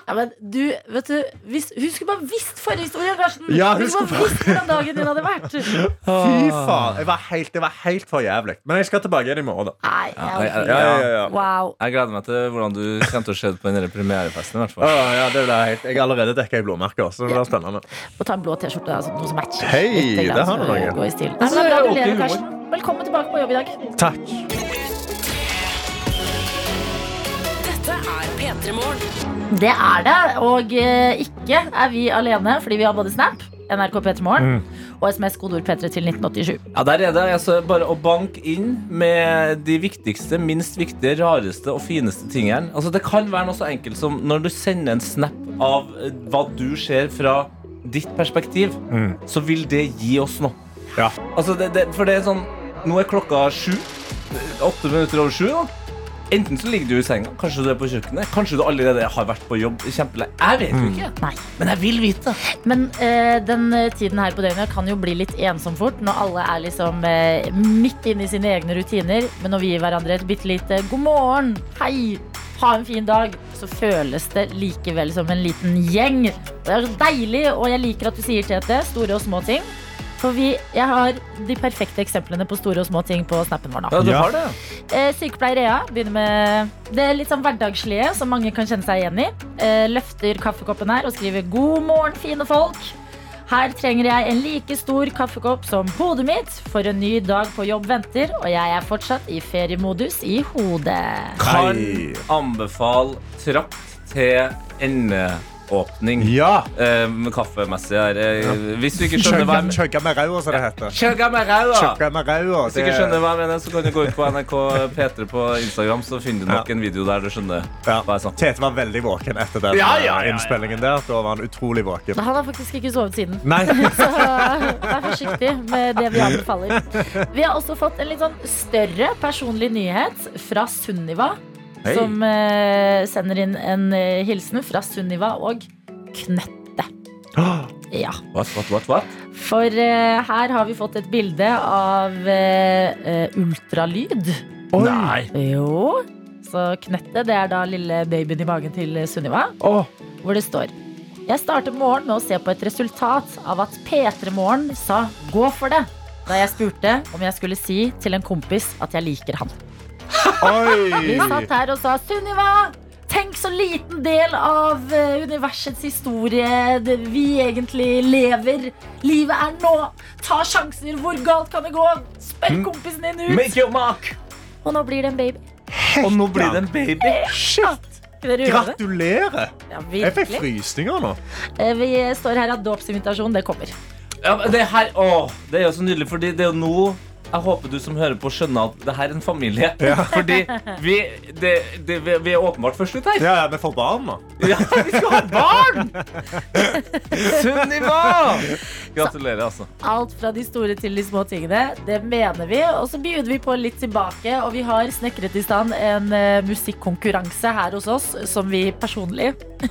Speaker 3: Ja, men du, vet du, hvis, hun skulle bare visst forhistorien, Karsten!
Speaker 5: Ja, hun
Speaker 3: hun skulle bare
Speaker 5: skulle
Speaker 3: visst hvordan dagen din hadde vært.
Speaker 5: Fy faen. Jeg var helt, det var helt for jævlig. Men jeg skal tilbake igjen i morgen, da.
Speaker 3: Nei, jeg,
Speaker 2: Ja,
Speaker 5: Ja, ja, ja.
Speaker 3: Wow.
Speaker 2: Jeg gleder meg til hvordan du kommer til å se det på den der premierefesten. i hvert fall.
Speaker 5: Å, ja, det blir helt, jeg har allerede dekka i blåmerker, så det blir spennende.
Speaker 3: Må ta en blå T-skjorte, da, som- noe som matcher.
Speaker 5: Hei,
Speaker 3: litt,
Speaker 5: det
Speaker 3: grann,
Speaker 5: har du
Speaker 3: så
Speaker 5: noe.
Speaker 3: Gå i stil. Nei, men da Gratulerer, Karsten. Velkommen tilbake på jobb i dag.
Speaker 5: Takk.
Speaker 1: Dette er P3morgen.
Speaker 3: Det er det, og eh, ikke er vi alene, fordi vi har både Snap, NRK P3morgen
Speaker 5: Mm.
Speaker 3: og SMS kodeord P3 til 1987.
Speaker 2: Ja, Der er det altså bare å banke inn med de viktigste, minst viktige, rareste og fineste tingene. Altså Det kan være noe så enkelt som når du sender en snap av eh, hva du ser fra ditt perspektiv, så vil det gi oss noe.
Speaker 5: Ja.
Speaker 2: Altså det, det, for det er sånn Nå er klokka sju. Åtte minutter over sju. da. Enten så ligger du i senga, kanskje du er på kjøkkenet, kanskje du allerede har vært på jobb kjempelenge. Jeg vet jo ikke,
Speaker 3: Nei.
Speaker 2: men jeg vil vite.
Speaker 3: Men eh, den eh, tiden her på døgnet kan jo bli litt ensom fort, når alle er liksom eh, midt inne i sine egne rutiner. Men når vi gir hverandre et bitte lite 'god morgen', 'hei', 'ha en fin dag', så føles det likevel som en liten gjeng. Og Det er så deilig, og jeg liker at du sier Tete, store og små ting. For vi, jeg har de perfekte eksemplene på store og små ting på snappen vår nå.
Speaker 2: Ja, du
Speaker 5: Ja.
Speaker 2: har det.
Speaker 3: Eh, Sykepleier Ea begynner med det litt sånn hverdagslige som mange kan kjenne seg igjen i. Eh, Løfter kaffekoppen her og skriver 'God morgen, fine folk'. Her trenger jeg en like stor kaffekopp som hodet mitt, for en ny dag på jobb venter, og jeg er fortsatt i feriemodus i hodet.
Speaker 2: kan
Speaker 5: Hei.
Speaker 2: anbefale trakt til endeåpning
Speaker 5: Ja!
Speaker 2: eh, med kaffemessig her. Eh, Hvis du ikke skjønner
Speaker 5: Chugga
Speaker 2: hva jeg mener
Speaker 5: chugga med ræva, som det heter.
Speaker 2: Chugga med ræva!
Speaker 5: Chugga med ræva.
Speaker 2: Hvis du ikke skjønner hva jeg mener, så kan du gå ut på NRK P3 på Instagram, så finner du nok
Speaker 5: Ja.
Speaker 2: en video der du skjønner
Speaker 5: Ja.
Speaker 2: hva jeg sa.
Speaker 5: Tete var veldig våken etter den
Speaker 2: Ja, ja, ja,
Speaker 5: eh,
Speaker 2: ja.
Speaker 5: innspillingen der. Da var han utrolig våken.
Speaker 3: Han har faktisk ikke sovet siden.
Speaker 5: Nei.
Speaker 3: Så eh, vær forsiktig med det vi anbefaler. Vi har også fått en litt sånn større personlig nyhet fra Sunniva.
Speaker 2: Hei.
Speaker 3: Som eh, sender inn en eh, hilsen fra Sunniva og Knøtte. Ja.
Speaker 2: What, what, what, what?
Speaker 3: For eh, her har vi fått et bilde av eh, eh, ultralyd.
Speaker 5: Oi.
Speaker 3: Jo. Så Knøtte, det er da lille babyen i magen til Sunniva
Speaker 5: Åh.
Speaker 3: hvor det står Jeg startet morgen med å se på et resultat av at P3-morgen sa 'gå for det' da jeg spurte om jeg skulle si til en kompis at jeg liker han. Vi
Speaker 5: Oi.
Speaker 3: satt her og sa 'Sunniva, tenk så liten del av eh, universets historie det vi egentlig lever. Livet er nå. Ta sjanser. Hvor galt kan det gå?
Speaker 5: Mm.
Speaker 3: Spør kompisen din ut.
Speaker 2: Make your mark!
Speaker 3: Og nå blir det en baby.
Speaker 2: Og nå blir det en baby.
Speaker 5: Shit.
Speaker 3: Skal dere gjøre det?
Speaker 5: Gratulerer.
Speaker 3: Ja,
Speaker 5: Jeg fikk
Speaker 3: virkelig.
Speaker 5: frysninger nå.
Speaker 3: Eh, Vi står her av dåpsinvitasjon. Det kommer.
Speaker 2: Ja, men det her, åh, det er jo så nydelig, fordi det er jo nå jeg håper du som hører på skjønner at det her er en familie. Fordi vi, det, det, vi, vi er åpenbart først ut her.
Speaker 5: Ja, ja, vi får barn nå.
Speaker 2: Ja, vi skal ha barn! Sunniva! Gratulerer, altså.
Speaker 3: Alt fra de store til de små tingene. Det mener vi. Og så bjuder vi på litt tilbake, og vi har snekret i stand en eh, musikkonkurranse her hos oss som vi personlig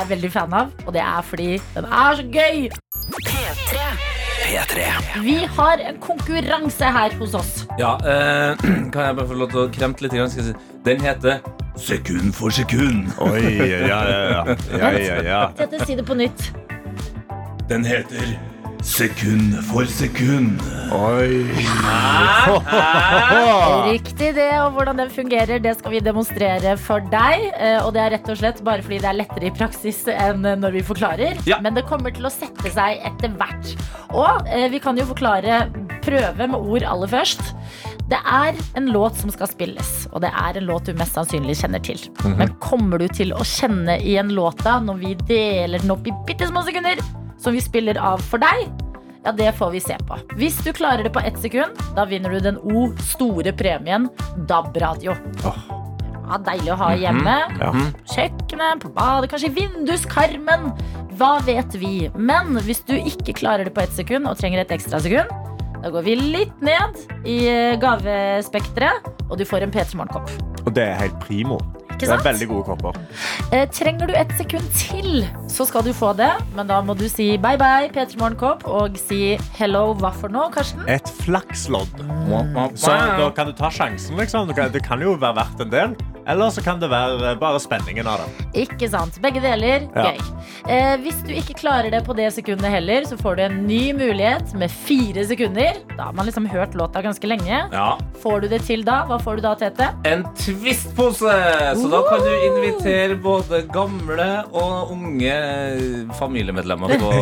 Speaker 3: er veldig fan av. Og det er fordi den er så gøy!
Speaker 1: P3.
Speaker 3: Vi har en konkurranse her hos oss.
Speaker 2: Ja, eh, Kan jeg bare få lov til å kremte litt? grann? Skal jeg si- Den heter Sekund for sekund.
Speaker 5: Oi, ja, ja, ja. ja, ja, ja.
Speaker 3: Dette si det på nytt.
Speaker 2: Den heter Sekund for sekund.
Speaker 5: Oi.
Speaker 3: Riktig det, og hvordan den fungerer, det skal vi demonstrere for deg. Eh, Og det er rett og slett bare fordi det er lettere i praksis enn eh, når vi forklarer.
Speaker 2: Ja.
Speaker 3: Men det kommer til å sette seg etter hvert. Og eh, vi kan jo forklare prøve med ord aller først. Det er en låt som skal spilles, og det er en låt du mest sannsynlig kjenner til. Men kommer du til å kjenne igjen låta når vi deler den opp i bitte små sekunder, som vi spiller av for deg? Ja, det får vi se på. Hvis du klarer det på ett sekund, da vinner du den O store premien DAB-radio. Ja, deilig å ha
Speaker 5: Mhm.
Speaker 3: hjemme. Kjøkkenet, på badet, kanskje i vinduskarmen. Hva vet vi? Men hvis du ikke klarer det på ett sekund og trenger et ekstra sekund, da går vi litt ned i eh, gavespekteret, og du får en P3 Morgenkopp.
Speaker 5: Og det er helt primo.
Speaker 3: Ikke
Speaker 5: Det er
Speaker 3: sant?
Speaker 5: veldig gode kopper.
Speaker 3: Eh, trenger du et sekund til, så skal du få det. Men da må du si bye bye, P3 Morgenkopp, og si hello, hva for noe, Karsten?
Speaker 5: Et flakslodd. Så da
Speaker 2: Wow.
Speaker 5: kan du ta sjansen, liksom. Du kan, det kan jo være verdt en del. Eller så kan det være eh, bare spenningen av det.
Speaker 3: Ikke sant. Begge deler.
Speaker 5: Ja.
Speaker 3: Gøy. Eh, hvis du ikke klarer det på det sekundet heller, så får du en ny mulighet med fire sekunder. Da har man liksom hørt låta ganske lenge.
Speaker 2: Ja.
Speaker 3: Får du det til da? Hva får du da, Tete?
Speaker 2: En twistpose! Så da kan du invitere både gamle og unge familiemedlemmer på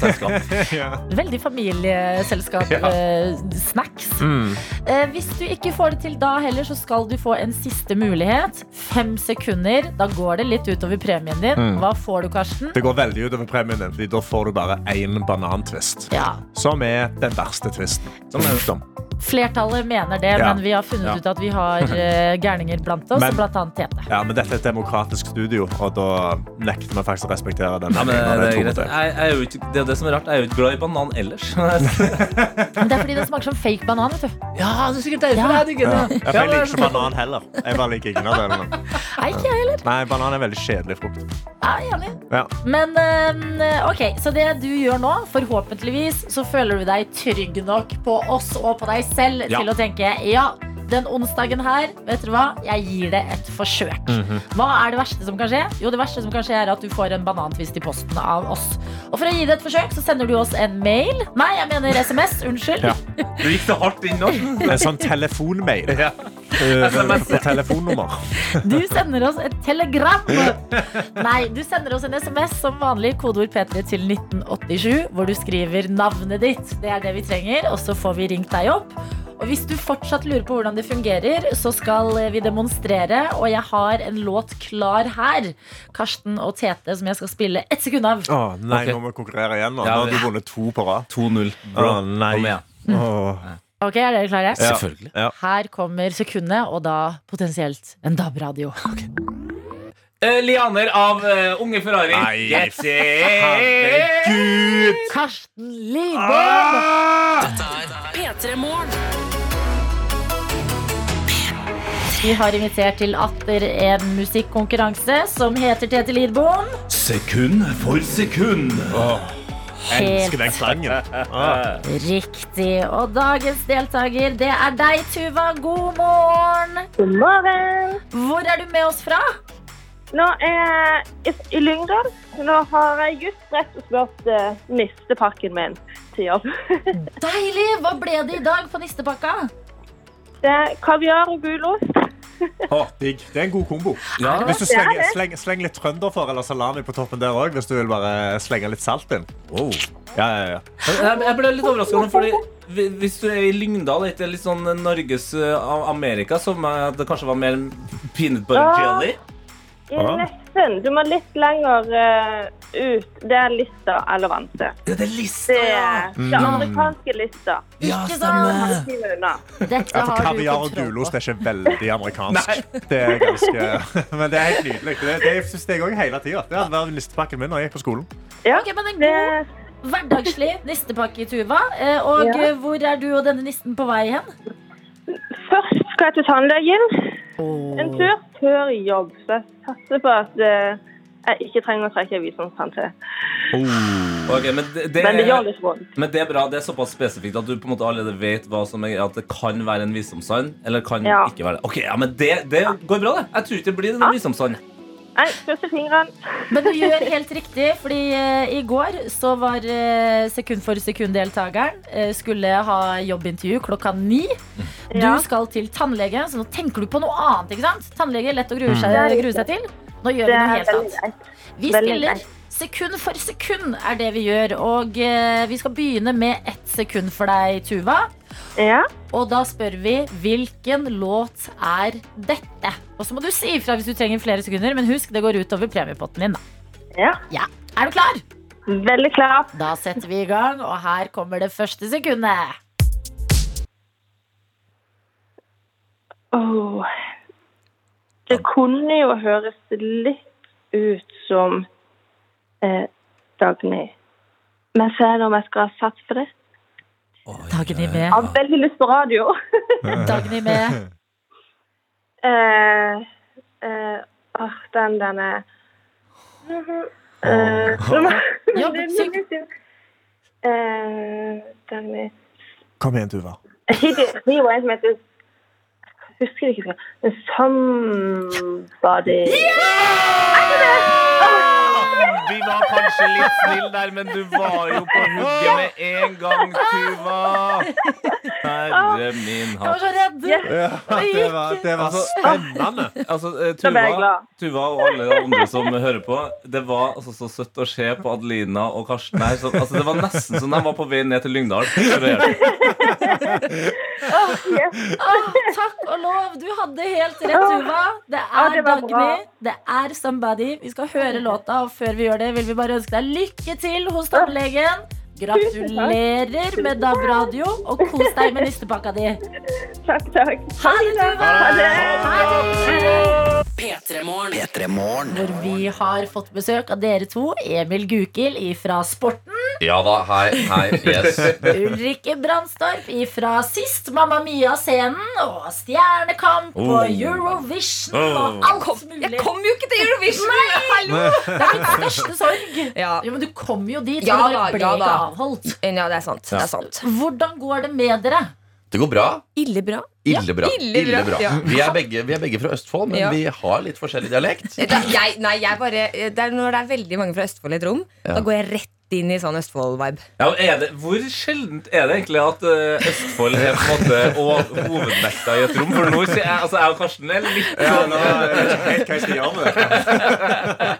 Speaker 2: selskap.
Speaker 3: Veldig familieselskap. eh, snacks.
Speaker 5: Mm.
Speaker 3: Eh, hvis du ikke får det til da heller, så skal du få en siste mulighet. Fem sekunder. Da går det litt utover premien din. Hva får du, Karsten?
Speaker 5: Mm. Det går veldig utover premien din, fordi da får du bare én banantvist.
Speaker 3: Ja,
Speaker 5: Som er den verste tvisten. Som er dum.
Speaker 3: Flertallet mener det,
Speaker 5: Ja.
Speaker 3: men vi har funnet
Speaker 5: Ja.
Speaker 3: ut at vi har eh, gærninger blant oss,
Speaker 5: Men-
Speaker 3: blant annet Tete.
Speaker 5: Ja, men dette er et demokratisk studio, og da nekter vi faktisk å respektere den.
Speaker 2: Ja, men,
Speaker 5: meningen, og
Speaker 2: det,
Speaker 5: den
Speaker 2: er greit.
Speaker 5: tonen.
Speaker 2: Jeg, jeg er jo ikke, det er det som er rart. Jeg er jo ikke glad i banan ellers.
Speaker 3: Men det er fordi det smaker som fake banan, vet du.
Speaker 2: ja, det er sikkert derfor
Speaker 3: Ja.
Speaker 2: jeg digger det.
Speaker 5: Ja, for jeg liker ikke banan heller. Jeg bare liker ingen av delene.
Speaker 3: Nei, ikke jeg heller.
Speaker 5: Nei, banan er veldig kjedelig frukt.
Speaker 3: Jeg er enig.
Speaker 5: Ja.
Speaker 3: Men eh, ok, så det du gjør nå, forhåpentligvis så føler du deg trygg nok på oss og på deg selv
Speaker 5: Ja.
Speaker 3: til å tenke ja, den onsdagen her, vet dere hva, jeg gir det et forsøk.
Speaker 5: Mhm.
Speaker 3: Hva er det verste som kan skje? Jo, det verste som kan skje er at du får en banantvist i posten av oss. Og for å gi det et forsøk, så sender du oss en mail. Nei, jeg mener SMS, unnskyld.
Speaker 5: Ja.
Speaker 2: Du gikk det hardt inn nå.
Speaker 5: En sånn telefonmail. Ja. På telefonnummer.
Speaker 3: Du sender oss et telegram. Nei, du sender oss en SMS som vanlig, kodeord P3 til 1987, hvor du skriver navnet ditt. Det er det vi trenger, og så får vi ringt deg opp. Og hvis du fortsatt lurer på hvordan det fungerer, så skal vi demonstrere, og jeg har en låt klar her. Karsten og Tete, som jeg skal spille ett sekund av.
Speaker 5: Å nei,
Speaker 2: Ok.
Speaker 5: nå må vi konkurrere igjen. Nå, nå
Speaker 2: Ja,
Speaker 5: har
Speaker 2: vi-
Speaker 5: du vunnet to på rad.
Speaker 2: 2-0. Bro,
Speaker 5: Å, nei.
Speaker 2: kom igjen.
Speaker 5: Åh.
Speaker 3: Ok, er dere klare?
Speaker 5: Ja.
Speaker 2: Selvfølgelig.
Speaker 5: Ja.
Speaker 3: Her kommer sekundet, og da potensielt en DAB-radio.
Speaker 2: Eh, lianer av eh, Unge Ferrari.
Speaker 5: Nei,
Speaker 2: Yes.
Speaker 5: Herregud!
Speaker 3: Karsten Lidbom!
Speaker 5: Ah!
Speaker 1: P3 Morgen.
Speaker 3: Vi har invitert til atter en musikkonkurranse som heter Tete Lidbom.
Speaker 2: Sekund for sekund.
Speaker 5: Elsker
Speaker 3: Helt
Speaker 5: den klangen.
Speaker 3: riktig. Og dagens deltaker, det er deg, Tuva. God morgen!
Speaker 6: God morgen.
Speaker 3: Hvor er du med oss fra?
Speaker 6: Nå er jeg i Lyngdal. Nå har jeg just rett og slett eh, mistet pakken min til jobb.
Speaker 3: Deilig! Hva ble det i dag på nistepakka?
Speaker 6: Det er kaviar og gulost.
Speaker 5: Åh, digg. Det er en god kombo. Hvis du slenger, sleng, sleng litt trønder for eller salami på toppen der òg, hvis du vil bare slenge litt salt inn. Ja, ja, ja.
Speaker 2: Jeg, jeg ble litt overraska nå, fordi hvi- hvis du er i Lyngdal, er ikke det litt sånn Norges eh, av Amerika, som eh, det kanskje var mer peanut butter
Speaker 6: Ja.
Speaker 2: jelly?
Speaker 6: I nesten. Du må litt lenger eh, ut. Det er lista eller vante.
Speaker 2: Det er lista,
Speaker 6: Det er det amerikanske lista.
Speaker 2: Ja,
Speaker 3: Ikke sant?
Speaker 2: stemmer.
Speaker 6: Halve time unna.
Speaker 3: Dette
Speaker 5: Ja, for
Speaker 3: har du
Speaker 5: Altså, kaviar og
Speaker 3: kontroll
Speaker 5: gulost er
Speaker 3: på.
Speaker 5: ikke veldig amerikansk. Det er ganske, men det er helt nydelig. Det, det syns jeg òg hele tida. Det hadde vært nistepakken min da jeg gikk på skolen.
Speaker 6: Ja.
Speaker 3: Ok, men En
Speaker 6: Det,
Speaker 3: god hverdagslig nistepakke, Tuva. Eh, Og
Speaker 6: Ja.
Speaker 3: eh, hvor er du og denne nissen på vei hen?
Speaker 6: først skal jeg til tannlegen. En tur før jobb. Så jeg satser på at eh, jeg ikke trenger å trekke visumstante.
Speaker 2: Ok, men, det, det,
Speaker 6: Men det gjør litt vondt.
Speaker 2: men det er bra. Det er såpass spesifikt at du på en måte allerede vet hva som er, at det kan være en visdomsand. Eller kan
Speaker 6: Ja.
Speaker 2: ikke være det. Ok, ja, men det, det går bra, det. Jeg tror ikke det blir en visdomsand.
Speaker 6: Nei, pusse fingrene.
Speaker 3: Men du gjør helt riktig, fordi eh, i går så var eh, sekund for sekund-deltakeren eh, skulle ha jobbintervju klokka ni. Du
Speaker 6: Ja.
Speaker 3: skal til tannlegen, så nå tenker du på noe annet. ikke sant? Tannlege lett å grue seg,
Speaker 6: Det er
Speaker 3: grue seg til. Nå gjør vi
Speaker 6: Mm. Det
Speaker 3: noe
Speaker 6: er
Speaker 3: helt
Speaker 6: veldig
Speaker 3: annet.
Speaker 6: greit.
Speaker 3: Vi
Speaker 6: veldig
Speaker 3: spiller
Speaker 6: greit.
Speaker 3: sekund for sekund, er det vi gjør. Og eh, vi skal begynne med ett sekund for deg, Tuva.
Speaker 6: Ja.
Speaker 3: Og da spør vi hvilken låt er dette? Og så må du si ifra hvis du trenger flere sekunder, men husk det går utover premiepotten din. da.
Speaker 6: ja.
Speaker 3: Ja. Er du klar?
Speaker 6: Veldig klar.
Speaker 3: Da setter vi i gang, og her kommer det første sekundet.
Speaker 6: Åh. Det kunne jo høres litt ut som eh, Dagny. Men så er det om jeg skal ha satt for det.
Speaker 3: Dagny
Speaker 6: Jeg
Speaker 3: med.
Speaker 6: har veldig lyst på radio.
Speaker 3: Dagny med.
Speaker 6: eh, eh, åh, den, den er eh,
Speaker 3: Ja,
Speaker 6: det er
Speaker 3: syng.
Speaker 6: mye synd. eh, Dagny
Speaker 5: Kom igjen, Tuva.
Speaker 6: Hittil- Det var en som heter Jeg husker ikke. men Somebody
Speaker 5: Vi var på en
Speaker 2: kanskje litt snill der, men du var jo på hugget med en gang, Tuva. Herre min
Speaker 3: Jeg var
Speaker 2: hatt.
Speaker 3: så redd!
Speaker 5: det var, det var spennende.
Speaker 2: Altså, eh,
Speaker 6: Da ble jeg
Speaker 2: Tuva,
Speaker 6: glad.
Speaker 2: Tuva og alle de andre som hører på, det var altså så søtt å se på Adelina og Karsten her. Så, altså, det var nesten som de var på vei ned til Lyngdal. for å gjøre det.
Speaker 6: Yes.
Speaker 3: Åh, takk og lov! Du hadde helt rett, Tuva. Det
Speaker 6: Ja,
Speaker 3: er
Speaker 6: det var bra.
Speaker 3: Dagny. Det er Somebody. Vi skal høre låta, og før vi gjør det, vil vi bare ønske deg lykke til hos tannlegen. Gratulerer med DAB-radio, og kos deg med nistepakka di.
Speaker 6: Takk, takk.
Speaker 3: Ha det, Tuva!
Speaker 6: Ha det.
Speaker 3: Ha det.
Speaker 1: P3-morgen.
Speaker 3: Hvor vi har fått besøk av dere to, Emil Gukild ifra Sporten,
Speaker 7: Ja da, hei, hei, yes
Speaker 3: Ulrikke Brandstorp ifra sist Mamma Mia-scenen, og Stjernekamp
Speaker 7: Oh.
Speaker 3: og Eurovision og alt mulig.
Speaker 8: Jeg kom jo ikke til Eurovision! Hallo!
Speaker 3: Det er min største sorg.
Speaker 8: Ja.
Speaker 3: Jo, men du kom jo dit,
Speaker 8: Ja
Speaker 3: og det
Speaker 8: da,
Speaker 3: bare ble
Speaker 8: ja
Speaker 3: ikke
Speaker 8: da.
Speaker 3: avholdt.
Speaker 8: Ja, det er sant. Det er sant.
Speaker 3: Hvordan går det med dere?
Speaker 7: Det går bra
Speaker 8: Ille bra.
Speaker 7: Ille bra,
Speaker 8: ille bra, ja.
Speaker 7: Vi, er begge, vi er begge fra Østfold, men
Speaker 8: Ja.
Speaker 7: vi har litt forskjellig dialekt
Speaker 8: Det er- Jeg, nei, jeg bare, det er når det er veldig mange fra Østfold i et rom, da går jeg rett inn i sånn Østfold-vibe.
Speaker 2: Ja, men er det, hvor sjeldent er det egentlig at eh, Østfold er på en måte og hovedvekta i et rom? For nå sier jeg, altså, jeg og Karsten er litt sånn,
Speaker 5: Ja, nå, jeg vet ikke helt hva jeg skal gjøre med det.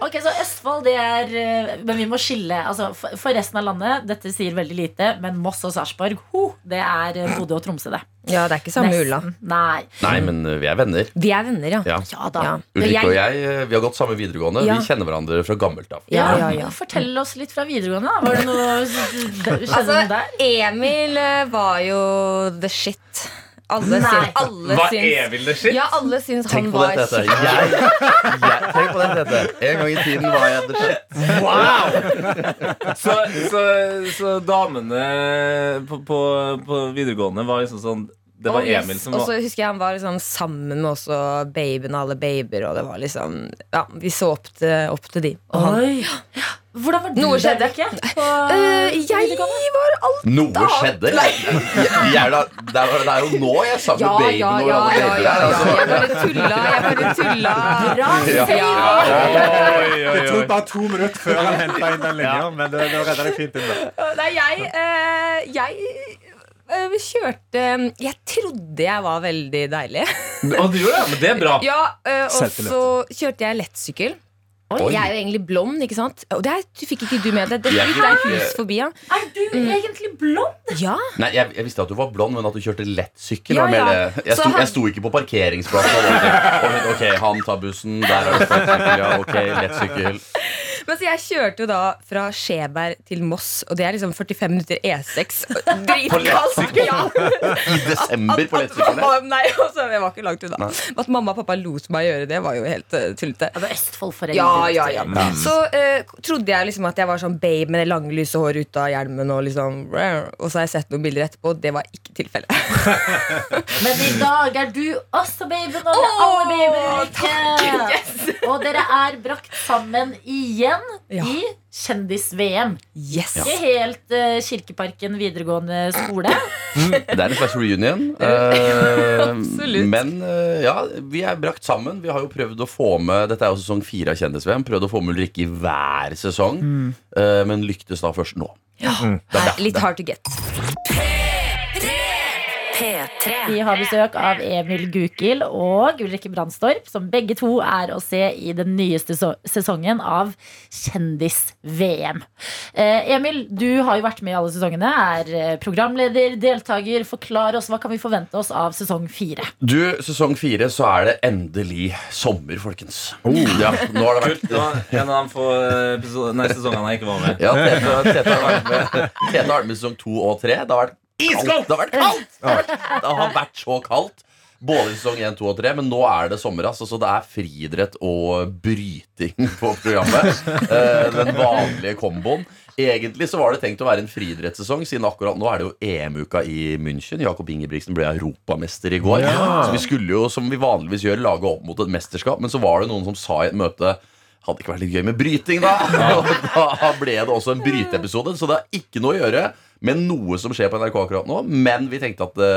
Speaker 3: Ok, så Østfold, det er eh, Men vi må skille. Altså, for for resten av landet, dette sier veldig lite, men Moss og Sarpsborg, ho, det er eh, Bodø og Tromsø, det.
Speaker 8: Ja, det er ikke samme ulla.
Speaker 3: Nesten. Nei.
Speaker 7: Nei, men eh, vi er venner
Speaker 8: Vi er venner, ja.
Speaker 7: Ja.
Speaker 3: Ja da.
Speaker 8: Ja.
Speaker 7: Ulrikke
Speaker 8: Jeg-
Speaker 7: og jeg, eh, vi har gått samme videregående
Speaker 8: Ja.
Speaker 7: Vi kjenner hverandre fra gammelt av
Speaker 8: Ja, ja, ja.
Speaker 3: Fortell oss litt fra videregående. da. Var det noe Skjedde noe
Speaker 8: Altså,
Speaker 3: der?
Speaker 8: Emil eh, var jo the shit. Alle,
Speaker 3: Nei.
Speaker 8: syns, alle
Speaker 2: Hva er
Speaker 8: syns
Speaker 2: vel det shit?
Speaker 8: Ja, alle syns han
Speaker 7: Tenk på
Speaker 8: var
Speaker 7: det, Tete
Speaker 8: skikkelig
Speaker 7: jeg, jeg, Tenk på det, Tete En gang i tiden var jeg the shit
Speaker 2: Så, så, så damene på, på, på videregående var liksom sånn Det var
Speaker 8: Og yes,
Speaker 2: Emil som
Speaker 8: Og
Speaker 2: var
Speaker 8: så husker jeg han var liksom sammen med også babyen og alle babyer, og det var liksom Ja, vi så opp til, opp til de. Og han
Speaker 3: Oi. Hvordan var du
Speaker 8: Noe skjedde.
Speaker 3: der, Rikke? På
Speaker 8: Eh, jeg
Speaker 3: videregående?
Speaker 8: var alt
Speaker 7: Noe skjedde jeg, jeg er da, det, er, det er jo nå jeg er sammen med Altså, babyen og alle babyer her, altså.
Speaker 8: Jeg bare tulla. Jeg bare tulla.
Speaker 3: Bra
Speaker 7: Ja.
Speaker 3: saving!
Speaker 5: Det tok bare to minutter før han henta inn den linja, men det, det redda deg fint inn. det.
Speaker 8: Nei, jeg eh, Jeg eh, kjørte Jeg trodde jeg var veldig deilig.
Speaker 2: Å, du gjorde det? Men det er bra.
Speaker 8: Ja, eh, og
Speaker 5: Selvtillit.
Speaker 8: så kjørte jeg lettsykkel.
Speaker 7: Oi.
Speaker 8: Jeg er jo egentlig blond, ikke sant? Og det er, fikk ikke du med deg. Det
Speaker 7: Jeg
Speaker 8: gikk deg
Speaker 7: fikk-
Speaker 8: hus forbi, ja.
Speaker 3: Er du
Speaker 8: Mm.
Speaker 3: egentlig blond?
Speaker 8: ja.
Speaker 7: Nei, jeg, jeg visste at du var blond, men at du kjørte lett sykkel
Speaker 8: Ja,
Speaker 7: var mer
Speaker 8: ja.
Speaker 7: det. Jeg,
Speaker 8: Så
Speaker 7: sto,
Speaker 8: han-
Speaker 7: jeg sto ikke på parkeringsplassen. og tenkte, «Å, men Ok, han tar bussen, der er det lett sykkel, ja, ok, lett sykkel.
Speaker 8: Men så jeg kjørte jo da fra Skjeberg til Moss, og det er liksom 45 minutter E6. Dritkaldt! Ja.
Speaker 7: I desember på lett sykkel.
Speaker 8: At- at- Nei, altså, jeg var ikke langt unna. At mamma og pappa lot meg gjøre det, var jo helt uh, tullete.
Speaker 3: Ja, det er Østfold for en
Speaker 8: Ja, ja, ja. Så eh, trodde jeg liksom at jeg var sånn babe med det lange, lyse håret ut av hjelmen. Og liksom Og så har jeg sett noen bilder etterpå, og det var ikke tilfellet.
Speaker 3: Men i dag er du også babyen og oh, alle babyene Rikke. Og dere er brakt sammen igjen
Speaker 8: Ja.
Speaker 3: i Kjendis-VM.
Speaker 8: Yes!
Speaker 3: Ikke helt eh, Kirkeparken videregående skole.
Speaker 7: Det er en slags reunion. eh,
Speaker 8: Absolutt.
Speaker 7: men eh, ja, vi er brakt sammen. Vi har jo prøvd å få med Dette er jo sesong fire av Kjendis-VM. Prøvd å få med Ulrikke i hver sesong,
Speaker 8: Mm.
Speaker 7: eh, men lyktes da først nå.
Speaker 8: Nei, litt hard to get.
Speaker 1: P3.
Speaker 3: Vi har besøk av Emil Gukild og Ulrikke Brandstorp, som begge to er å se i den nyeste so- sesongen av Kjendis-VM. Eh, Emil, du har jo vært med i alle sesongene. Er eh, programleder, deltaker. Forklar oss, hva kan vi forvente oss av sesong fire?
Speaker 7: Du, sesong fire, så er det endelig sommer, folkens. Ja, nå har det vært
Speaker 2: Det var en av de få eh, episo- nei, sesongene jeg ikke var med.
Speaker 7: Ja, Tete, Tete har vært med Tete har vært med sesong to og tre. Det har vært kaldt! Det har vært kaldt! Det har vært, det har vært så kaldt. Både i sesong 1, 2 og 3, men nå er det sommer. Altså, så det er friidrett og bryting på programmet. Eh, Den vanlige komboen. Egentlig så var det tenkt å være en friidrettssesong, siden akkurat nå er det jo EM-uka i München. Jakob Ingebrigtsen ble europamester i går. Så vi skulle jo, som vi vanligvis gjør, lage opp mot et mesterskap, men så var det noen som sa i et møte hadde det ikke vært litt gøy med bryting, da? Og da ble det også en bryteepisode. Så det har ikke noe å gjøre med noe som skjer på NRK akkurat nå. Eh, Men vi tenkte at det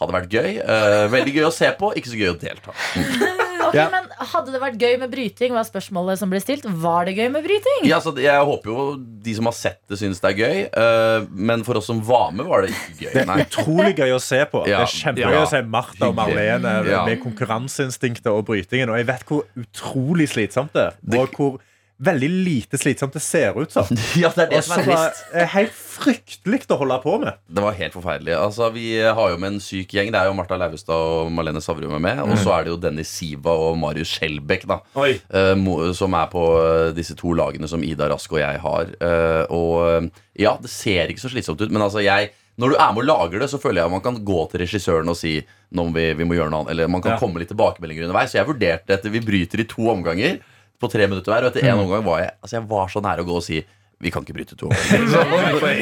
Speaker 7: hadde vært gøy. Eh, veldig gøy å se på, ikke så gøy å delta.
Speaker 3: Ok, Ok,
Speaker 5: Ja.
Speaker 3: men Hadde det vært gøy med bryting, var spørsmålet som ble stilt. Var det gøy med bryting?
Speaker 7: Ja, så jeg håper jo de som har sett det, syns det er gøøy. eh, men for oss som var med, var det ikke gøy. Nei.
Speaker 5: Utrolig gøy å se på.
Speaker 7: Ja.
Speaker 5: Det er kjempegøy
Speaker 7: Ja.
Speaker 5: å se Martha og Marlene
Speaker 7: Ja.
Speaker 5: med konkurranseinstinktet og brytingen. Og jeg vet hvor utrolig slitsomt det er. Og hvor veldig lite slitsomt det ser ut som.
Speaker 7: Ja, det er det
Speaker 5: Og
Speaker 7: som er
Speaker 5: som er-
Speaker 7: trist.
Speaker 5: er helt fryktelig å holde på med.
Speaker 7: Det var helt forferdelig. Altså, Vi har jo med en syk gjeng. Det er jo Martha Leivestad og Malene Savrum er med. Og så er det jo Dennis Siva og Marius Skjelbæk, da.
Speaker 2: Oi.
Speaker 7: eh, mo- som er på eh, disse to lagene som Ida Rask og jeg har. Eh, og eh, ja, det ser ikke så slitsomt ut, men altså jeg når du er med og lager det, så føler jeg man kan gå til regissøren og si Nå må vi, vi må gjøre noe annet. Eller man kan komme litt tilbakemeldinger underveis. Så jeg vurderte dette. Vi bryter i to omganger på tre minutter hver. Og etter én omgang var jeg Altså jeg var så nære å gå og si vi kan ikke bryte to omganger. Så-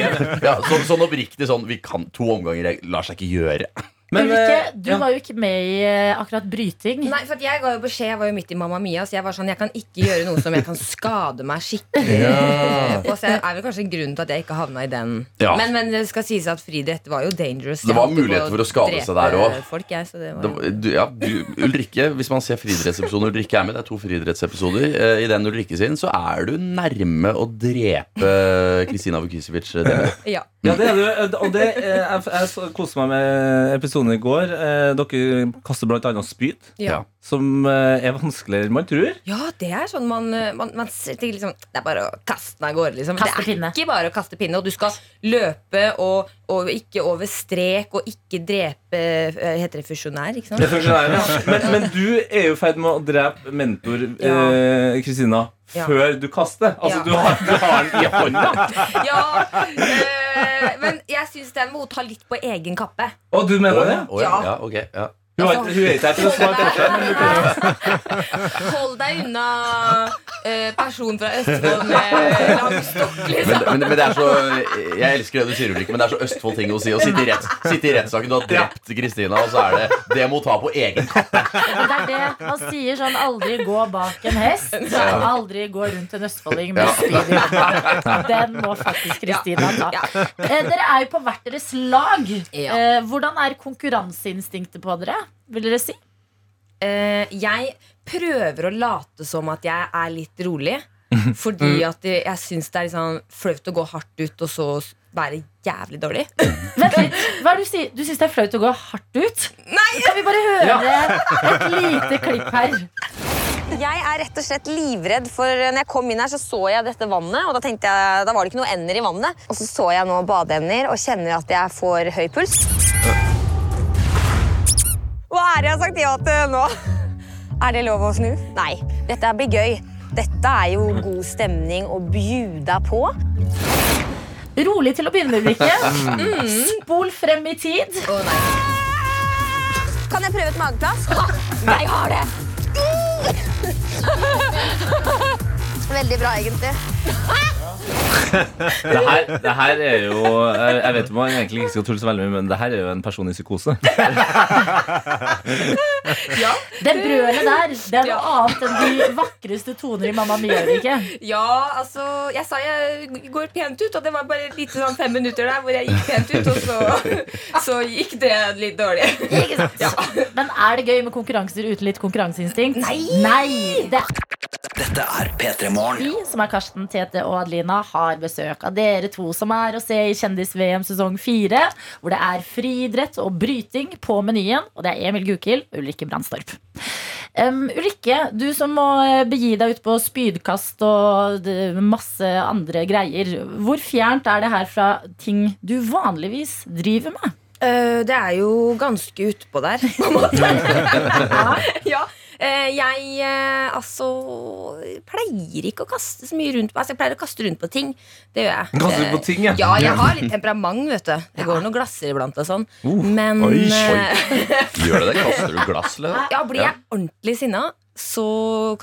Speaker 7: ja, så, sånn oppriktig sånn vi kan, To omganger jeg lar seg ikke gjøre.
Speaker 3: Men,
Speaker 2: eh,
Speaker 3: Ulrikke, du var jo ikke med i eh, akkurat bryting.
Speaker 8: Nei, for at jeg ga jo beskjed, jeg var jo midt i Mamma Mia, så jeg var sånn, jeg kan ikke gjøre noe som jeg kan skade meg skikkelig. Og så er vel kanskje grunnen til at jeg ikke havna i den.
Speaker 7: Ja.
Speaker 8: Men, men det skal sies at friidrett var jo dangerous.
Speaker 7: Det
Speaker 8: Jeg
Speaker 7: var
Speaker 8: holdt jo på
Speaker 7: muligheter for å skade
Speaker 8: drepe
Speaker 7: seg der også.
Speaker 8: folk, jeg, så det var
Speaker 7: Det, var- du, ja, du, Ulrikke, hvis man ser friidrettsepisoden Ulrikke er med, det er to friidrettsepisoder. eh, I den Ulrikke sin så er du nærme å drepe Kristina Vukicevic. eh, det-
Speaker 8: Ja.
Speaker 2: Ja, det er du. Og det, eh, jeg, jeg så- koste meg med episoden i går. Eh, Dere kaster blant annet spyd,
Speaker 7: Ja.
Speaker 8: Ja.
Speaker 2: som eh, er vanskeligere enn man tror.
Speaker 8: ja, det er sånn man, man, man ser til liksom, Det er bare å kaste den av gårde, liksom.
Speaker 3: Kaste
Speaker 8: det er
Speaker 3: pinne.
Speaker 8: ikke bare å kaste pinne, og du skal løpe og, og ikke over strek og ikke drepe eh, Heter det fusjonær, ikke sant?
Speaker 2: Det funksjonærer, ja. Men, men du er jo i ferd med å drepe mentor eh, Kristina
Speaker 8: Ja.
Speaker 2: før du kaster. Altså,
Speaker 8: Ja.
Speaker 2: du, har, du har den i hånda.
Speaker 8: Ja, eh, men jeg syns den må hun ta litt på egen kappe.
Speaker 2: Og du mener det?
Speaker 7: Å, ja, ja, ok, ja.
Speaker 2: Hun, har, hun er ikke her til å svare på det. men du-
Speaker 8: Hold deg unna eh, person fra Østfold med lang stokk,
Speaker 7: Men,
Speaker 8: liksom.
Speaker 7: men, men det er så Jeg elsker det du sier, Ulrikke, men det er så Østfold-ting å si. Å sitte i, retts, sitte i rettssaken, du har drept Kristina, og så er det Det må ta på egen kappe.
Speaker 3: Men det er det man sier sånn aldri gå bak en hest. Aldri gå rundt en østfolding med
Speaker 7: Ja.
Speaker 3: spyd i hånda. Den må faktisk Kristina ta.
Speaker 8: Ja.
Speaker 3: Eh, Dere er jo på hvert deres lag.
Speaker 8: Ja.
Speaker 3: Eh, Hvordan er konkurranseinstinktet på dere? Vil dere si?
Speaker 8: Eh, jeg prøver å late som at jeg er litt rolig. Fordi at det- jeg syns det er liksom flaut å gå hardt ut og så være jævlig dårlig.
Speaker 3: Vent litt, hva er det du sier? Du syns det er flaut å gå hardt ut? Nei! Kan vi bare høre et lite klipp her?
Speaker 9: Jeg er rett og slett livredd, for når jeg kom inn her, så så jeg dette vannet. Og da tenkte jeg, da var det ikke noe ender i vannet. Og så så jeg nå badeemner og kjenner at jeg får høy puls. Hva er det jeg har sagt ja til nå? Er det lov å snu? Nei. Dette blir gøy. Dette er jo god stemning å bjuda på.
Speaker 3: Rolig til å begynne med, Ulrikke.
Speaker 8: Mm.
Speaker 3: Spol frem i tid.
Speaker 9: Kan jeg prøve et mageplask? Jeg har det! Veldig bra, egentlig.
Speaker 2: Det her, det her er jo Jeg jeg vet man egentlig ikke skal tulle så veldig mye, men det her er jo en person i psykose.
Speaker 3: Det brølet der det er noe annet enn de vakreste toner i Mamma Mia. Ulrikke.
Speaker 8: Ja, altså Jeg sa jeg går pent ut, og det var bare lite sånn fem minutter der hvor jeg gikk pent ut, og så, så gikk det litt dårlig.
Speaker 3: Men er det gøy med konkurranser uten litt konkurranseinstinkt? Nei! det er
Speaker 1: Dette er P3 Morgen.
Speaker 3: vi som er Karsten, Tete og Adelina, har besøk av dere to som er å se i Kjendis-VM sesong 4, hvor det er friidrett og bryting på menyen. Og det er Emil Gukild og Ulrikke Brandstorp. Um, Ulrikke, du som må eh, begi deg ut på spydkast og d- masse andre greier. Hvor fjernt er det her fra ting du vanligvis driver med?
Speaker 8: Eh, det er jo ganske utpå der, på en måte. ja. Eh, jeg eh, altså pleier ikke å kaste så mye rundt på Altså, jeg pleier å kaste rundt på ting. Det gjør jeg.
Speaker 2: Kaster du på ting, ja? Uh,
Speaker 8: Eh, ja, jeg har litt temperament, vet du. Det går noen glasser iblant og sånn. Men
Speaker 5: oi, oi.
Speaker 8: eh,
Speaker 7: Gjør det det? Kaster du glass, eller?
Speaker 8: ja, blir jeg ordentlig sinna, så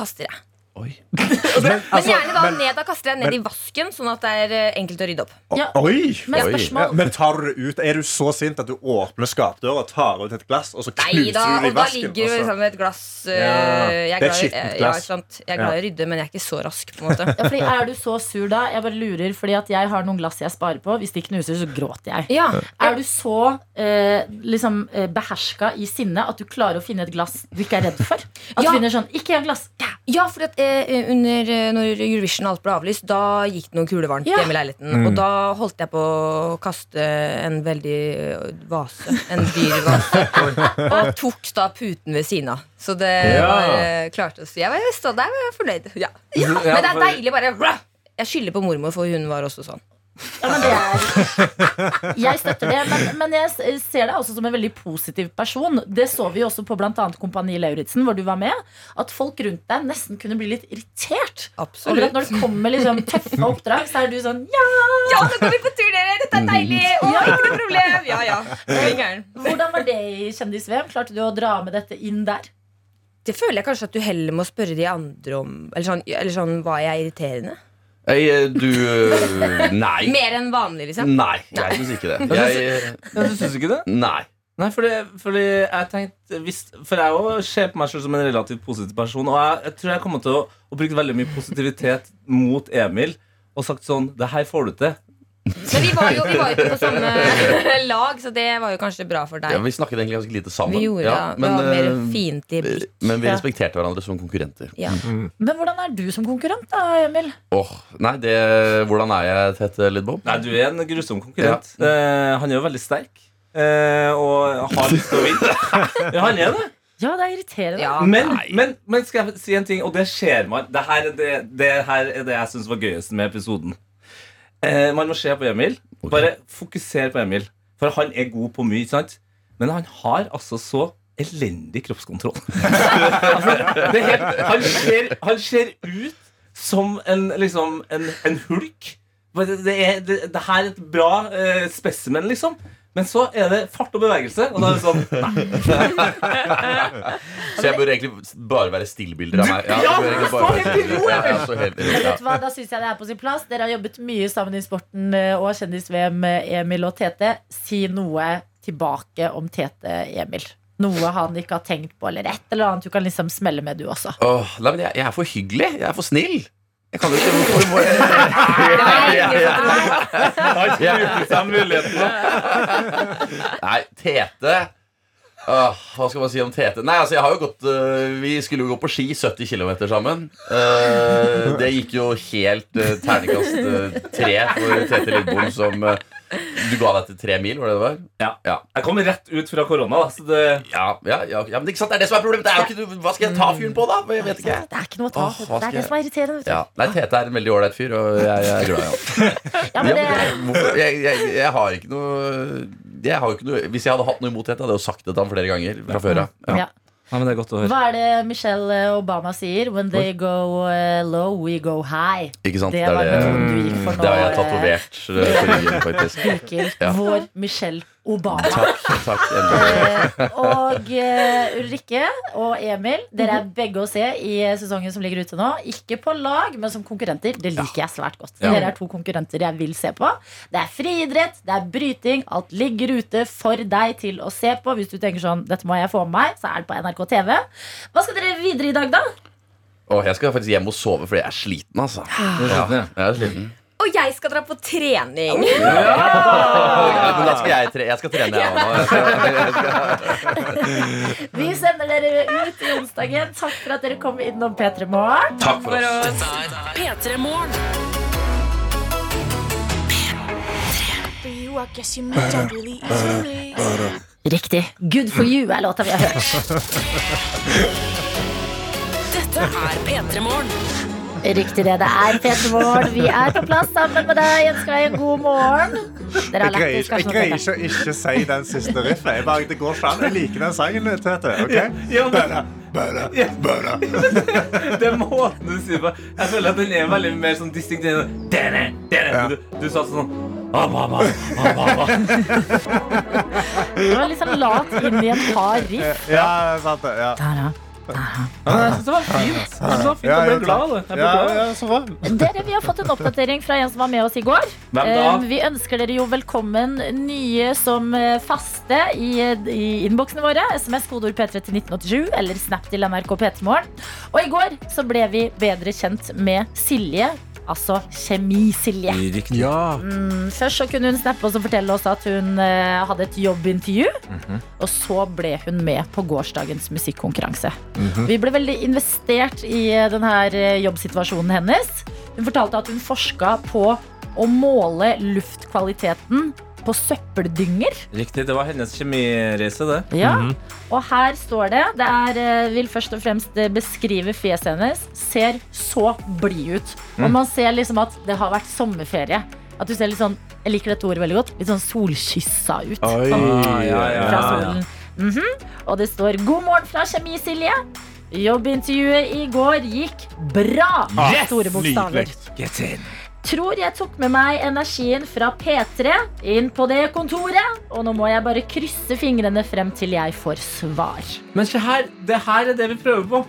Speaker 8: kaster jeg.
Speaker 5: Men, altså,
Speaker 8: Men gjerne da
Speaker 5: men-
Speaker 8: ned, da kaster jeg ned i vasken, sånn at det er eh, enkelt å rydde opp.
Speaker 3: Ja.
Speaker 5: Oi!
Speaker 3: Men
Speaker 7: Oi.
Speaker 5: Ja,
Speaker 3: spørsmål
Speaker 5: men tar du det ut, Er du så sint at du åpner skapdøra og tar ut et glass, og så
Speaker 8: Nei
Speaker 5: knuser
Speaker 8: da,
Speaker 5: du det i
Speaker 8: og da
Speaker 5: vasken?
Speaker 8: ligger jo
Speaker 5: og så-
Speaker 8: liksom et glass eh,
Speaker 5: Ja,
Speaker 8: jeg
Speaker 5: det er et
Speaker 8: glad i-
Speaker 5: skittent
Speaker 8: eh,
Speaker 5: glass.
Speaker 8: Ja, ikke sant? Jeg er glad i å rydde, men jeg er ikke så rask, på en måte.
Speaker 3: ja, fordi Er du så sur da? Jeg bare lurer, fordi at jeg har noen glass jeg sparer på. Hvis de knuser, så gråter jeg.
Speaker 8: Ja,
Speaker 3: Er du så eh, liksom, eh, beherska i sinne at du klarer å finne et glass du ikke er redd for? At
Speaker 8: Ja.
Speaker 3: du finner sånn 'ikke en glass'. Ja.
Speaker 8: ja for at, eh, under, eh, når Eurovision og alt ble avlyst, da gikk det noen kuler varmt
Speaker 3: Ja.
Speaker 8: hjemme i leiligheten. Og da holdt jeg på å kaste en veldig eh, vase. En dyr vase. og tok da puten ved siden av. Så det
Speaker 5: Ja.
Speaker 8: var, eh, klarte å si. Jeg var jeg stod der jeg var fornøyd. Ja. Ja, men det er deilig bare Jeg skylder på mormor, for hun var også sånn.
Speaker 3: Ja, men det er, jeg støtter det, men, men jeg s- eh, ser deg også som en veldig positiv person. Det så vi jo også på bl.a. Kompani Lauritzen, hvor du var med. At folk rundt deg nesten kunne bli litt irritert. Over
Speaker 8: Absolutt.
Speaker 3: at når det kommer liksom, tøffe oppdrag, så er du sånn Ja!
Speaker 8: Ja, nå går vi på tur, dere! Dette er deilig! Å, ikke noe problem! Ja, ja. Ingen gæren.
Speaker 3: Hvordan var det i Kjendis-VM? Klarte du å dra med dette inn der?
Speaker 8: Det føler jeg kanskje at du heller må spørre de andre om. Eller sånn, eller sånn var jeg irriterende?
Speaker 7: Ei, eh, du eh, Nei.
Speaker 8: Mer enn vanlig, liksom.
Speaker 7: Nei, jeg syns ikke det. Jeg,
Speaker 2: Ja, du syns ikke det?
Speaker 7: nei.
Speaker 2: Nei, fordi, fordi jeg tenkte hvis, For jeg òg ser på meg selv som en relativt positiv person. Og jeg, jeg tror jeg kommer til å, å bruke veldig mye positivitet mot Emil og sagt sånn Det her får du til.
Speaker 8: Men vi var jo, vi var jo ikke på samme lag, så det var jo kanskje bra for
Speaker 7: Ja,
Speaker 8: deg.
Speaker 7: vi snakket egentlig ganske lite sammen.
Speaker 8: Vi gjorde
Speaker 7: ja,
Speaker 8: det.
Speaker 7: men,
Speaker 8: var mer
Speaker 7: eh,
Speaker 8: fiendtlig blikk.
Speaker 7: men vi
Speaker 3: Ja.
Speaker 7: respekterte hverandre som konkurrenter.
Speaker 8: Ja.
Speaker 3: Men hvordan er du som konkurrent, da, Emil?
Speaker 7: Åh, nei, det, Hvordan er jeg, Tete Lidbom?
Speaker 2: Nei, du er en grusom konkurrent. Eh, han er jo veldig sterk. Eh, og har lyst til å vinne. Ja, han er det.
Speaker 3: Ja, det er irriterende.
Speaker 8: Ja.
Speaker 2: Men, men, men skal jeg si en ting, og det skjer man. Det her er det, det, her er det jeg syns var gøyest med episoden. Eh, man må se på Emil. Bare fokusere på Emil. For han er god på mye, ikke sant? Men han har altså så elendig kroppskontroll. altså, det er helt, han, ser, han ser ut som en, liksom, en, en hulk. Bare Det, er, det, det her er et bra eh, spesimen, liksom. Men så er det fart og bevegelse, og da er det sånn
Speaker 7: Så jeg bør egentlig bare være stillbilder av meg.
Speaker 2: Ja,
Speaker 7: jeg bør egentlig bare
Speaker 2: stå
Speaker 7: være
Speaker 2: helt i ro,
Speaker 7: stillbilder. Ja, ja, stå helt i ro,
Speaker 3: Men
Speaker 7: ja.
Speaker 3: vet du hva, Da syns jeg det er på sin plass. Dere har jobbet mye sammen i sporten eh, og Kjendis-VM, eh, Emil og Tete. Si noe tilbake om Tete Emil. Noe han ikke har tenkt på, eller et eller annet du kan liksom smelle med, du også.
Speaker 7: Åh, nei, men jeg, jeg er for hyggelig. Jeg er for snill. Jeg kan jo ikke hvorfor må jeg- Nei, Tete Åh, Hva skal man si om Tete? Nei, altså, jeg har jo gått øh, Vi skulle jo gå på ski 70 km sammen. Eh, det gikk jo helt øh, terningkast øh, tre for Tete Lidbom som øh, Du ga deg til tre mil, var det det var?
Speaker 2: Jeg kom rett ut fra korona, da, så det
Speaker 7: Ja, ja, ja, ja men ikke sant, det er det som er problemet. Det er jo ikke, hva skal jeg ta fyren på, da? Jeg vet ikke.
Speaker 3: Det er ikke noe å ta
Speaker 7: Åh,
Speaker 3: på.
Speaker 7: hva
Speaker 3: Det er det
Speaker 7: skal
Speaker 3: som er irriterende. Vet du.
Speaker 7: Ja, Nei, Tete er en veldig ålreit fyr, og jeg, jeg er glad i han.
Speaker 3: Ja,
Speaker 7: Ja,
Speaker 3: men
Speaker 7: men
Speaker 3: det,
Speaker 7: jeg, hvorfor- jeg, jeg, jeg har ikke noe jeg har jo ikke noe, Hvis jeg hadde hatt noe imot Tete, hadde jeg jo sagt det til han flere ganger fra før av. Ja.
Speaker 3: ja.
Speaker 2: Nei, men det er godt å høre.
Speaker 3: Hva er det Michelle eh, Obama sier? When they go eh, low, we go high.
Speaker 7: Ikke sant?
Speaker 3: Det
Speaker 7: Det er
Speaker 3: var
Speaker 7: det,
Speaker 3: metoden du gikk for nå.
Speaker 7: det har jeg
Speaker 3: eh,
Speaker 7: tatovert eh, på ryggen, faktisk.
Speaker 3: Birker.
Speaker 7: Ja.
Speaker 3: Vår Michelle Obama.
Speaker 7: Takk. takk endelig.
Speaker 3: Eh, og eh, Ulrikke og Emil, dere
Speaker 7: Mhm.
Speaker 3: er begge å se i eh, sesongen som ligger ute nå. Ikke på lag, men som konkurrenter. Det liker jeg svært godt.
Speaker 7: Ja.
Speaker 3: Dere er to konkurrenter jeg vil se på. Det er friidrett, det er bryting. Alt ligger ute for deg til å se på. Hvis du tenker sånn, dette må jeg få med meg, så er det på NRK TV. Hva skal dere videre i dag, da?
Speaker 7: Og jeg skal faktisk hjem og sove, fordi jeg er sliten, altså. Ja, jeg er sliten.
Speaker 8: Og jeg skal dra på trening!
Speaker 7: Ja, men da skal jeg, tre, jeg skal trene, jeg også nå. Jeg skal,
Speaker 3: Vi
Speaker 7: Mm.
Speaker 3: sender dere ut i onsdagen. Takk for at dere kom innom P3 Morgen.
Speaker 7: takk for oss.
Speaker 3: Riktig. Good for you er låta vi har hørt. Dette er P3 Morgen. Riktig det. Det er P3 Morgen. Vi er på plass sammen med deg. Ønsker deg en god morgen. Dere
Speaker 5: Jeg
Speaker 3: har lagt
Speaker 5: greier, ikke,
Speaker 3: ut
Speaker 5: jeg
Speaker 3: kanskje noe
Speaker 5: greier
Speaker 3: til.
Speaker 5: ikke å ikke si den siste riffet. Jeg bare, det går ikke an. Jeg liker den sangen. Tete. ok?
Speaker 2: Ja, men-
Speaker 5: Bøda, bøda, bøda.
Speaker 2: Det er måten du sier på. Jeg føler at den er veldig mer sånn distinkt. enn Dere, dere. Du, du sa sånn Ababa, ababa.
Speaker 3: Det var litt sånn lat inn i et par riff.
Speaker 5: Ja, sant det. Ja.
Speaker 3: Der, ja.
Speaker 2: Jeg synes det var fint. Jeg synes det var fint. Jeg ble glad. av det. Jeg ble glad. av det.
Speaker 5: ja, så bra.
Speaker 3: Dere, Vi har fått en oppdatering fra en som var med oss i går.
Speaker 2: Hvem
Speaker 3: Eh,
Speaker 2: da?
Speaker 3: Vi ønsker dere jo velkommen nye som eh, faste i, i innboksene våre. SMS kodeord P3 til 1987 eller Snap til NRK P3morgen. Og i går så ble vi bedre kjent med Silje. Altså Kjemi-Silje.
Speaker 1: Riktig.
Speaker 3: Mm, Først så kunne hun snappe oss og fortelle oss at hun eh, hadde et jobbintervju. Og så ble hun med på gårsdagens musikkonkurranse. Vi ble veldig investert i eh, den her eh, jobbsituasjonen hennes. Hun fortalte at hun forska på å måle luftkvaliteten på søppeldynger.
Speaker 2: Riktig, Det var hennes kjemireise, det.
Speaker 3: Ja. Og her står det Det er, eh, vil først og fremst eh, beskrive fjeset hennes. Ser så blid ut. Og man ser liksom at det har vært sommerferie. At du ser litt sånn Jeg liker dette ordet veldig godt. Litt sånn solkyssa ut. Sånn,
Speaker 2: Ah, ja, ja,
Speaker 3: fra
Speaker 2: ja.
Speaker 3: solen. Mhm. Og det står 'God morgen fra Kjemi-Silje'. Jobbintervjuet i går gikk bra! med Store bokstaver.
Speaker 2: Get in.
Speaker 3: Tror jeg tok med meg energien fra P3 inn på det kontoret, og nå må jeg bare krysse fingrene frem til jeg får svar.
Speaker 2: Men se her, det her er det vi prøver på.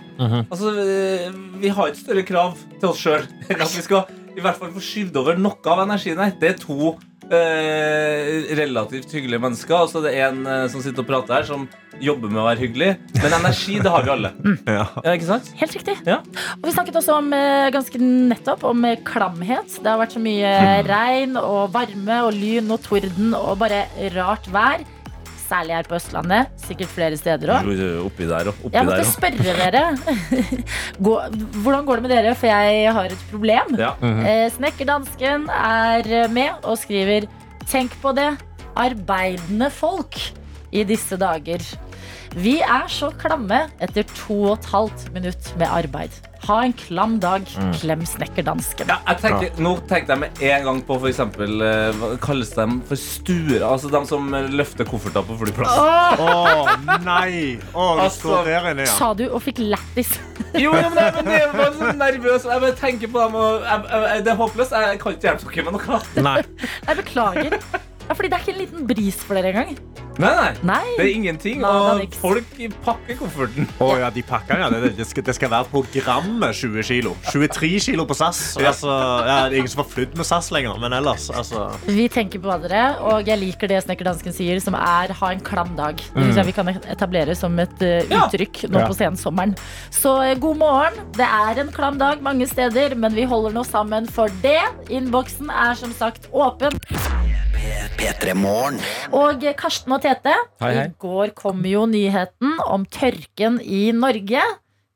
Speaker 2: Altså, eh, Vi har ikke større krav til oss sjøl enn at vi skal i hvert fall få skyvd over noe av energien her. Det er to eh, relativt hyggelige mennesker. Altså, det er en eh, som sitter og prater her, som jobber med å være hyggelig. Men energi, det har vi alle. Ja, ikke sant?
Speaker 3: Helt riktig.
Speaker 2: Ja.
Speaker 3: Og vi snakket også om eh, ganske nettopp om eh, klamhet. Det har vært så mye regn og varme og lyn og torden og bare rart vær. Særlig her på Østlandet. Sikkert flere steder òg.
Speaker 2: Oppi der og oppi
Speaker 3: Jeg måtte
Speaker 2: der og.
Speaker 3: spørre dere Gå, Hvordan går det med dere, for jeg har et problem
Speaker 2: Ja.
Speaker 3: eh, Snekkerdansken er med og skriver Tenk på det, arbeidende folk i disse dager Vi er så klamme etter to og et halvt minutt med arbeid Ha en klam dag, klem snekkerdansken
Speaker 2: Mm. Ja, jeg tenker, Nå tenkte jeg med en gang på for eksempel, eh, hva kalles de for stuere? Altså de som løfter kofferter på flyplassen.
Speaker 5: Å, nei! Å, du
Speaker 2: Altså,
Speaker 5: står der inne, ja.
Speaker 3: Sa du og fikk lættis
Speaker 2: Jo, jo, men jeg, men jeg var så nervøs. og Jeg bare tenker på dem og jeg, jeg, jeg, Det er håpløst. Jeg kan ikke hjelpe dere med noe.
Speaker 5: Nei.
Speaker 3: Jeg beklager ja, Fordi det er ikke en liten bris for dere engang
Speaker 2: Nei, nei.
Speaker 3: Nei
Speaker 2: Det er ingenting.
Speaker 3: Nada
Speaker 2: Og
Speaker 3: niks.
Speaker 2: folk pakker kofferten.
Speaker 5: Å ja, de pakker, ja. Det, det, skal, det skal være på grammet 20 kilo. 23 kilo på SAS. Altså, ja, det er ingen som har flydd med SAS lenger, men ellers, altså.
Speaker 3: Vi tenker på hverandre, og jeg liker det snekkerdansken sier, som er 'ha en klam dag'. Det synes jeg vi kan etablere som et eh, uttrykk nå
Speaker 5: Ja.
Speaker 3: på sensommeren. Så eh, god morgen. Det er en klam dag mange steder, men vi holder nå sammen for det. Innboksen er som sagt åpen.
Speaker 1: P3 Morgen.
Speaker 3: Og eh, Karsten og Tete,
Speaker 2: Hei, hei.
Speaker 3: i går kom jo nyheten om tørken i Norge.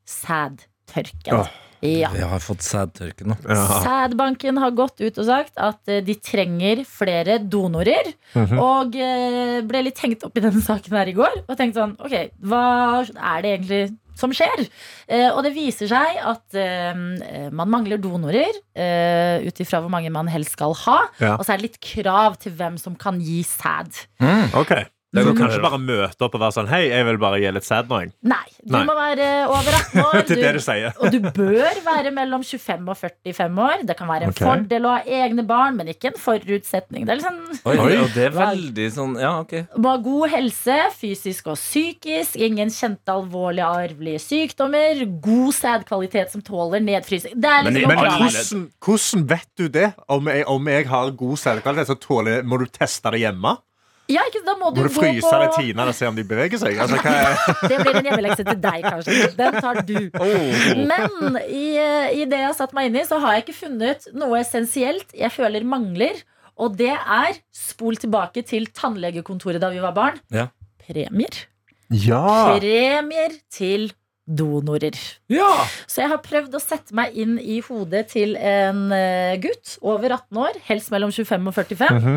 Speaker 3: Sædtørken.
Speaker 5: Åh.
Speaker 3: Ja.
Speaker 2: Jeg har fått sædtørke nå.
Speaker 3: Sædbanken har gått ut og sagt at eh, de trenger flere donorer.
Speaker 5: Mhm.
Speaker 3: Og eh, ble litt hengt opp i denne saken her i går. Og tenkte sånn, ok, hva er det egentlig som skjer? Eh, og det viser seg at eh, man mangler donorer eh, ut ifra hvor mange man helst skal ha.
Speaker 5: Ja.
Speaker 3: Og så er det litt krav til hvem som kan gi sæd.
Speaker 5: Ok.
Speaker 2: Det
Speaker 5: Du
Speaker 2: er
Speaker 5: kan
Speaker 2: godt å
Speaker 5: kanskje
Speaker 2: høre.
Speaker 5: bare møte opp og være sånn Hei, jeg vil bare gi litt sæd nå, jeg.
Speaker 3: Nei, du
Speaker 5: Nei.
Speaker 3: må være over 18 år.
Speaker 5: Til det du sier.
Speaker 3: Og du bør være mellom 25 og 45 år. Det kan være en
Speaker 5: Ok.
Speaker 3: fordel å ha egne barn, men ikke en forutsetning. Det er liksom
Speaker 2: Oi, og det er veldig sånn Ja, OK.
Speaker 3: må ha god helse, fysisk og psykisk, ingen kjente alvorlige arvelige sykdommer, god sædkvalitet som tåler nedfrysing Det er
Speaker 5: Men,
Speaker 3: liksom
Speaker 5: men
Speaker 3: noe bra.
Speaker 5: hvordan, hvordan vet du det? Om jeg, om jeg har god sædkvalitet, så tåler jeg Må du teste det hjemme?
Speaker 3: Ja, ikke, sant? da må du,
Speaker 5: Må du
Speaker 3: gå
Speaker 5: fryse
Speaker 3: på
Speaker 5: det, tine det, se om de beveger seg? Altså, hva er
Speaker 3: Det blir en hjemmelekse til deg, kanskje. Den tar du.
Speaker 2: Oh.
Speaker 3: Men i, eh, i det jeg har satt meg inn i, så har jeg ikke funnet noe essensielt jeg føler mangler. Og det er, spol tilbake til tannlegekontoret da vi var barn,
Speaker 2: Ja.
Speaker 3: premier.
Speaker 5: Ja!
Speaker 3: Premier til donorer. Så jeg har prøvd å sette meg inn i hodet til en eh, gutt over 18 år, helst mellom 25 og 45,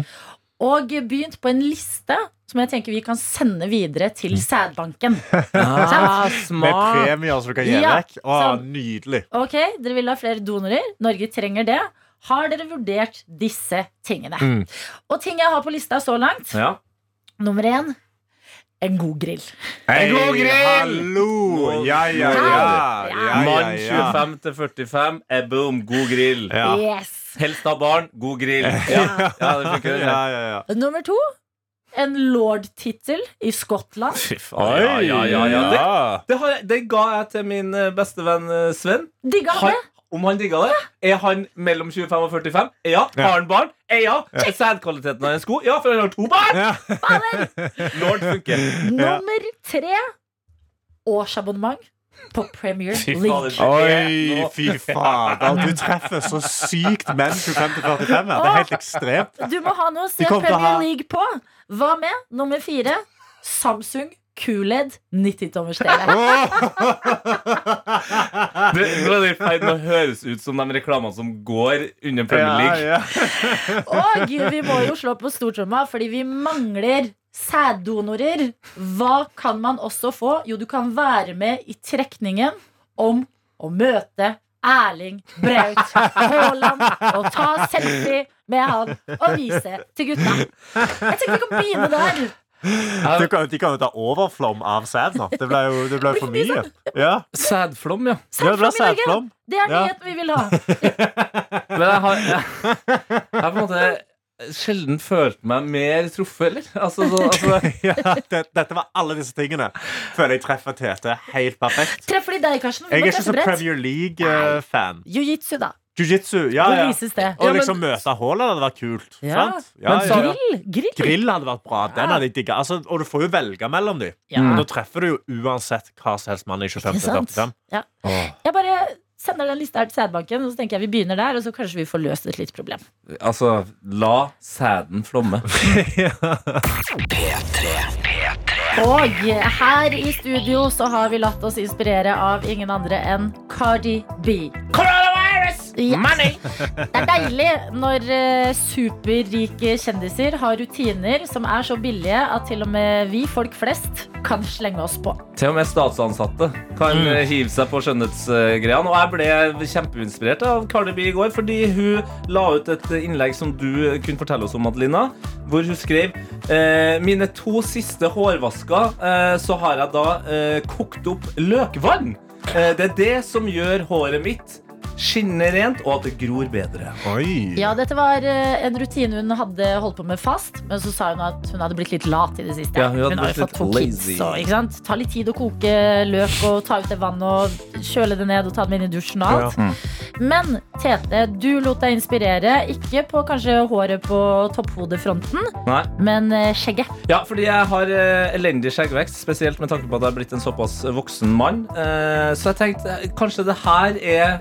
Speaker 3: og begynt på en liste som jeg tenker vi kan sende videre til sædbanken.
Speaker 2: Ah,
Speaker 5: Med
Speaker 2: smart.
Speaker 5: premier som du kan gi
Speaker 3: Ja,
Speaker 5: vekk? Å,
Speaker 3: sånn.
Speaker 5: nydelig.
Speaker 3: Ok, dere vil ha flere donorer. Norge trenger det. Har dere vurdert disse tingene?
Speaker 5: Mm.
Speaker 3: Og ting jeg har på lista så langt.
Speaker 2: Ja.
Speaker 3: Nummer én en god grill.
Speaker 5: Hei,
Speaker 2: god grill!
Speaker 5: hallo! Ja, ja, ja. ja, ja,
Speaker 2: Mann
Speaker 5: ja.
Speaker 2: 25 til 45, eh, boom, god grill.
Speaker 5: Ja.
Speaker 3: Yes!
Speaker 2: Helst ha barn, god grill. Ja, ja det funker.
Speaker 5: Ja, ja, ja.
Speaker 3: Nummer to en lord-tittel i Skottland.
Speaker 2: Oi, ja, ja, ja, ja. Det,
Speaker 5: Ja.
Speaker 2: det, har jeg, det ga jeg til min eh, beste venn eh, Sven.
Speaker 3: Digga han
Speaker 2: Han,
Speaker 3: det?
Speaker 2: om han digga det? Er han mellom 25 og 45?
Speaker 5: Ja.
Speaker 2: Ja. Har han barn? Eh, Ja. Er sædkvaliteten hans god? Ja, for han har to barn!
Speaker 5: Ja.
Speaker 3: Fader!
Speaker 2: Lord funker.
Speaker 3: Nummer tre årsabonnement på Premier
Speaker 2: Fy
Speaker 3: League.
Speaker 2: fader.
Speaker 5: Oi, fy fader. Du treffer så sykt menn 25 til 45 her. Det er helt ekstremt.
Speaker 3: Du må ha noe å se
Speaker 5: Vi kommer til å
Speaker 3: Premier
Speaker 5: ha-
Speaker 3: League på. Hva med nummer fire? Samsung QLED 90-tommers-TV.
Speaker 2: Det, nå er det i ferd med å høres ut som de reklamene som går under Premier
Speaker 5: Ja,
Speaker 2: League.
Speaker 5: ja.
Speaker 3: Og vi må jo slå på stortromma, fordi vi mangler sæddonorer. Hva kan man også få? Jo, du kan være med i trekningen om å møte Erling Braut Haaland og ta selfie med han og vise til gutta. Jeg tenkte vi kan begynne der.
Speaker 5: De kan, de kan jo ta overflom av sæd nå. Det ble jo det ble for mye. Ja,
Speaker 2: Sædflom, ja.
Speaker 5: ja det ble
Speaker 3: Sædflom i Norge.
Speaker 5: sædflom.
Speaker 3: Det er
Speaker 5: Ja.
Speaker 3: nyheten vi vil ha.
Speaker 2: Men jeg har, jeg, jeg har på en måte sjelden følt meg mer truffet, eller? Altså, så, altså,
Speaker 5: Ja, det, dette var alle disse tingene. Føler jeg treffer Tete helt perfekt.
Speaker 3: Treffer de deg, Karsten?
Speaker 5: Jeg er ikke så
Speaker 3: Bredt.
Speaker 5: Premier League-fan.
Speaker 3: Jiu-jitsu, da.
Speaker 5: Jiu-jitsu, ja,
Speaker 3: Hvor
Speaker 5: ja.
Speaker 3: vises det?
Speaker 5: Å liksom møte Haaland hadde vært kult.
Speaker 3: Ja.
Speaker 5: Sant? Ja, ja, ja.
Speaker 3: Grill! Grill!
Speaker 5: Grill hadde vært bra. Den hadde jeg digga. Altså, og du får jo velge mellom dem.
Speaker 3: Ja.
Speaker 5: Og da treffer du jo uansett hva som helst mann i
Speaker 3: Ikke
Speaker 5: 25 til
Speaker 3: sant?
Speaker 5: 45.
Speaker 3: Ja. Jeg bare sender den lista her til sædbanken, og så tenker jeg vi begynner der, og så kanskje vi får løst et lite problem.
Speaker 2: altså la sæden flomme.
Speaker 3: Og her i studio så har vi latt oss inspirere av ingen andre enn Cardi B. Coronavirus! Money! Det er deilig når eh, superrike kjendiser har rutiner som er så billige at til og med vi folk flest kan slenge oss på.
Speaker 2: Til og med statsansatte kan eh, hive seg på skjønnhetsgreiene. Og jeg ble kjempeinspirert av Cardi B i går, fordi hun la ut et innlegg som du kunne fortelle oss om, Adelina, hvor hun skrev eh, Mine to siste hårvasker, eh, så har jeg da eh, kokt opp løkvann. Eh, det er det som gjør håret mitt skinnende rent, og at det gror bedre.
Speaker 5: Oi.
Speaker 3: Ja, dette var eh, en rutine hun hadde holdt på med fast, men så sa hun at hun hadde blitt litt lat i det siste.
Speaker 2: Ja, hun hadde
Speaker 3: har jo
Speaker 2: blitt litt
Speaker 3: fått to
Speaker 2: lazy.
Speaker 3: kids, og, ikke sant? Ta litt tid å koke løk og ta ut det vannet og kjøle det ned og ta det med inn i dusjen og alt. Mm. Men Tete, du lot deg inspirere, ikke på kanskje håret på topphodefronten,
Speaker 2: Nei.
Speaker 3: men eh, skjegget.
Speaker 2: Ja, fordi jeg har eh, elendig skjeggvekst, spesielt med tanke på at jeg har blitt en såpass voksen mann. Eh, så jeg tenkte eh, kanskje det her er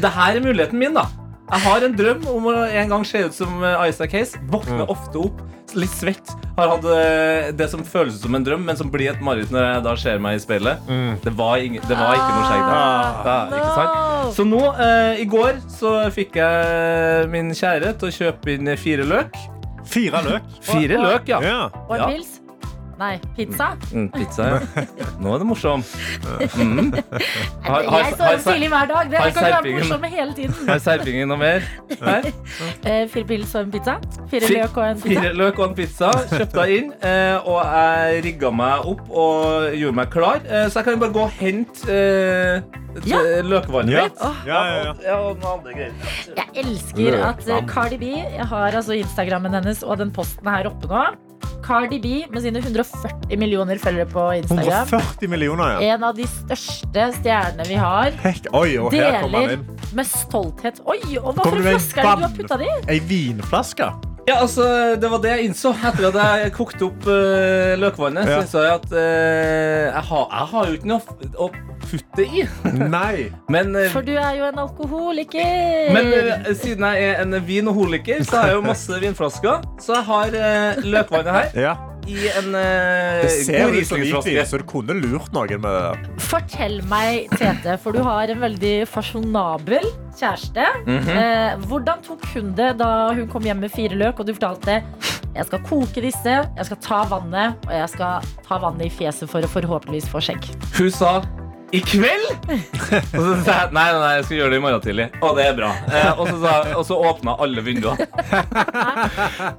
Speaker 2: Det her er muligheten min, da. Jeg har en drøm om å en gang se ut som eh, Isaac Hayes. Våkner ofte opp litt svett. Har hatt eh, det som føles som en drøm, men som blir et mareritt når jeg da ser meg i speilet. Det, var ing- det var ikke noe skjegg der. Ja, ikke sant?
Speaker 3: no!
Speaker 2: Så nå, eh, i går, så fikk jeg min kjære til å kjøpe inn fire løk.
Speaker 5: Fire løk.
Speaker 2: Fire løk, ja.
Speaker 5: Ja.
Speaker 3: Og en
Speaker 2: Ja.
Speaker 3: pils? Nei, pizza?
Speaker 2: Mm, pizza, ja. Nå er det morsom. Mm. Har, har,
Speaker 3: Jeg står
Speaker 2: har,
Speaker 3: opp tidlig hver dag. Dere
Speaker 2: har
Speaker 3: kan ikke være
Speaker 2: serpingen-
Speaker 3: morsomme hele tiden.
Speaker 2: har serpingen noe mer? Her.
Speaker 3: Eh, Fire pils og en pizza? Fire
Speaker 2: Fi-
Speaker 3: løk og en pizza?
Speaker 2: Fire løk og en pizza. Kjøpte jeg inn, eh, og jeg rigga meg opp og gjorde meg klar. Eh, Så jeg kan jo bare gå og hente eh, t-
Speaker 3: Ja.
Speaker 2: løkvannet
Speaker 5: Ja.
Speaker 2: mitt.
Speaker 5: Ja, ja, ja.
Speaker 2: Ja, og noen andre greier.
Speaker 3: Jeg elsker at eh, Cardi B Jeg har altså Instagrammen hennes og den posten her oppe nå. Cardi B med sine 140 millioner følgere på Instagram.
Speaker 5: 140 millioner, ja.
Speaker 3: En av de største stjernene vi har.
Speaker 5: Hekk. Oi, og her kommer han
Speaker 3: Deler
Speaker 5: inn.
Speaker 3: med stolthet. Oi, og hva
Speaker 5: Kommer
Speaker 3: for
Speaker 5: det en
Speaker 3: flasker er det du har
Speaker 5: band?
Speaker 3: putta det i?
Speaker 5: Ei vinflaske.
Speaker 2: Ja, altså, Det var det jeg innså etter at jeg kokte opp eh, løkvannet.
Speaker 5: Ja.
Speaker 2: Så innså jeg at eh, jeg, har, jeg har jo ikke noe f- å putte det i.
Speaker 5: Nei.
Speaker 2: Men eh,
Speaker 3: For du er jo en alkoholiker.
Speaker 2: Men eh, siden jeg er en vinoholiker, så har jeg jo masse vinflasker. Så jeg har eh, løkvannet her
Speaker 5: Ja.
Speaker 2: i en eh,
Speaker 5: Det ser
Speaker 2: god
Speaker 5: ut som hvitvin,
Speaker 2: rislingflaske.
Speaker 5: så du kunne lurt noen med det.
Speaker 3: Fortell meg, Tete, for du har en veldig fasjonabel kjæreste. eh, hvordan tok hun det da hun kom hjem med fire løk, og du fortalte jeg skal koke disse, jeg skal ta vannet, og jeg skal ta vannet i fjeset for å forhåpentligvis få skjegg.
Speaker 2: Hun sa I kveld? Og så sa jeg nei, nei, nei, jeg skal gjøre det i morgen tidlig. Å, det er bra. Eh, og, så sa, og så åpna alle vinduene.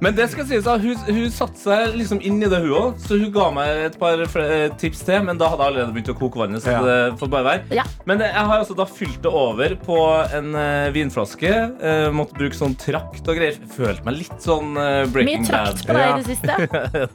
Speaker 2: Men det skal sies at hun, hun satte seg liksom inn i det, hun òg. Så hun ga meg et par fl- eh, tips til, men da hadde jeg allerede begynt å koke vannet. Så
Speaker 5: Ja.
Speaker 2: det får bare være
Speaker 3: Ja.
Speaker 2: Men jeg har altså da fylt det over på en eh, vinflaske. Eh, måtte bruke sånn trakt og greier. Følte meg litt sånn eh,
Speaker 3: Mye
Speaker 2: Breaking Bad.
Speaker 3: trakt på deg i det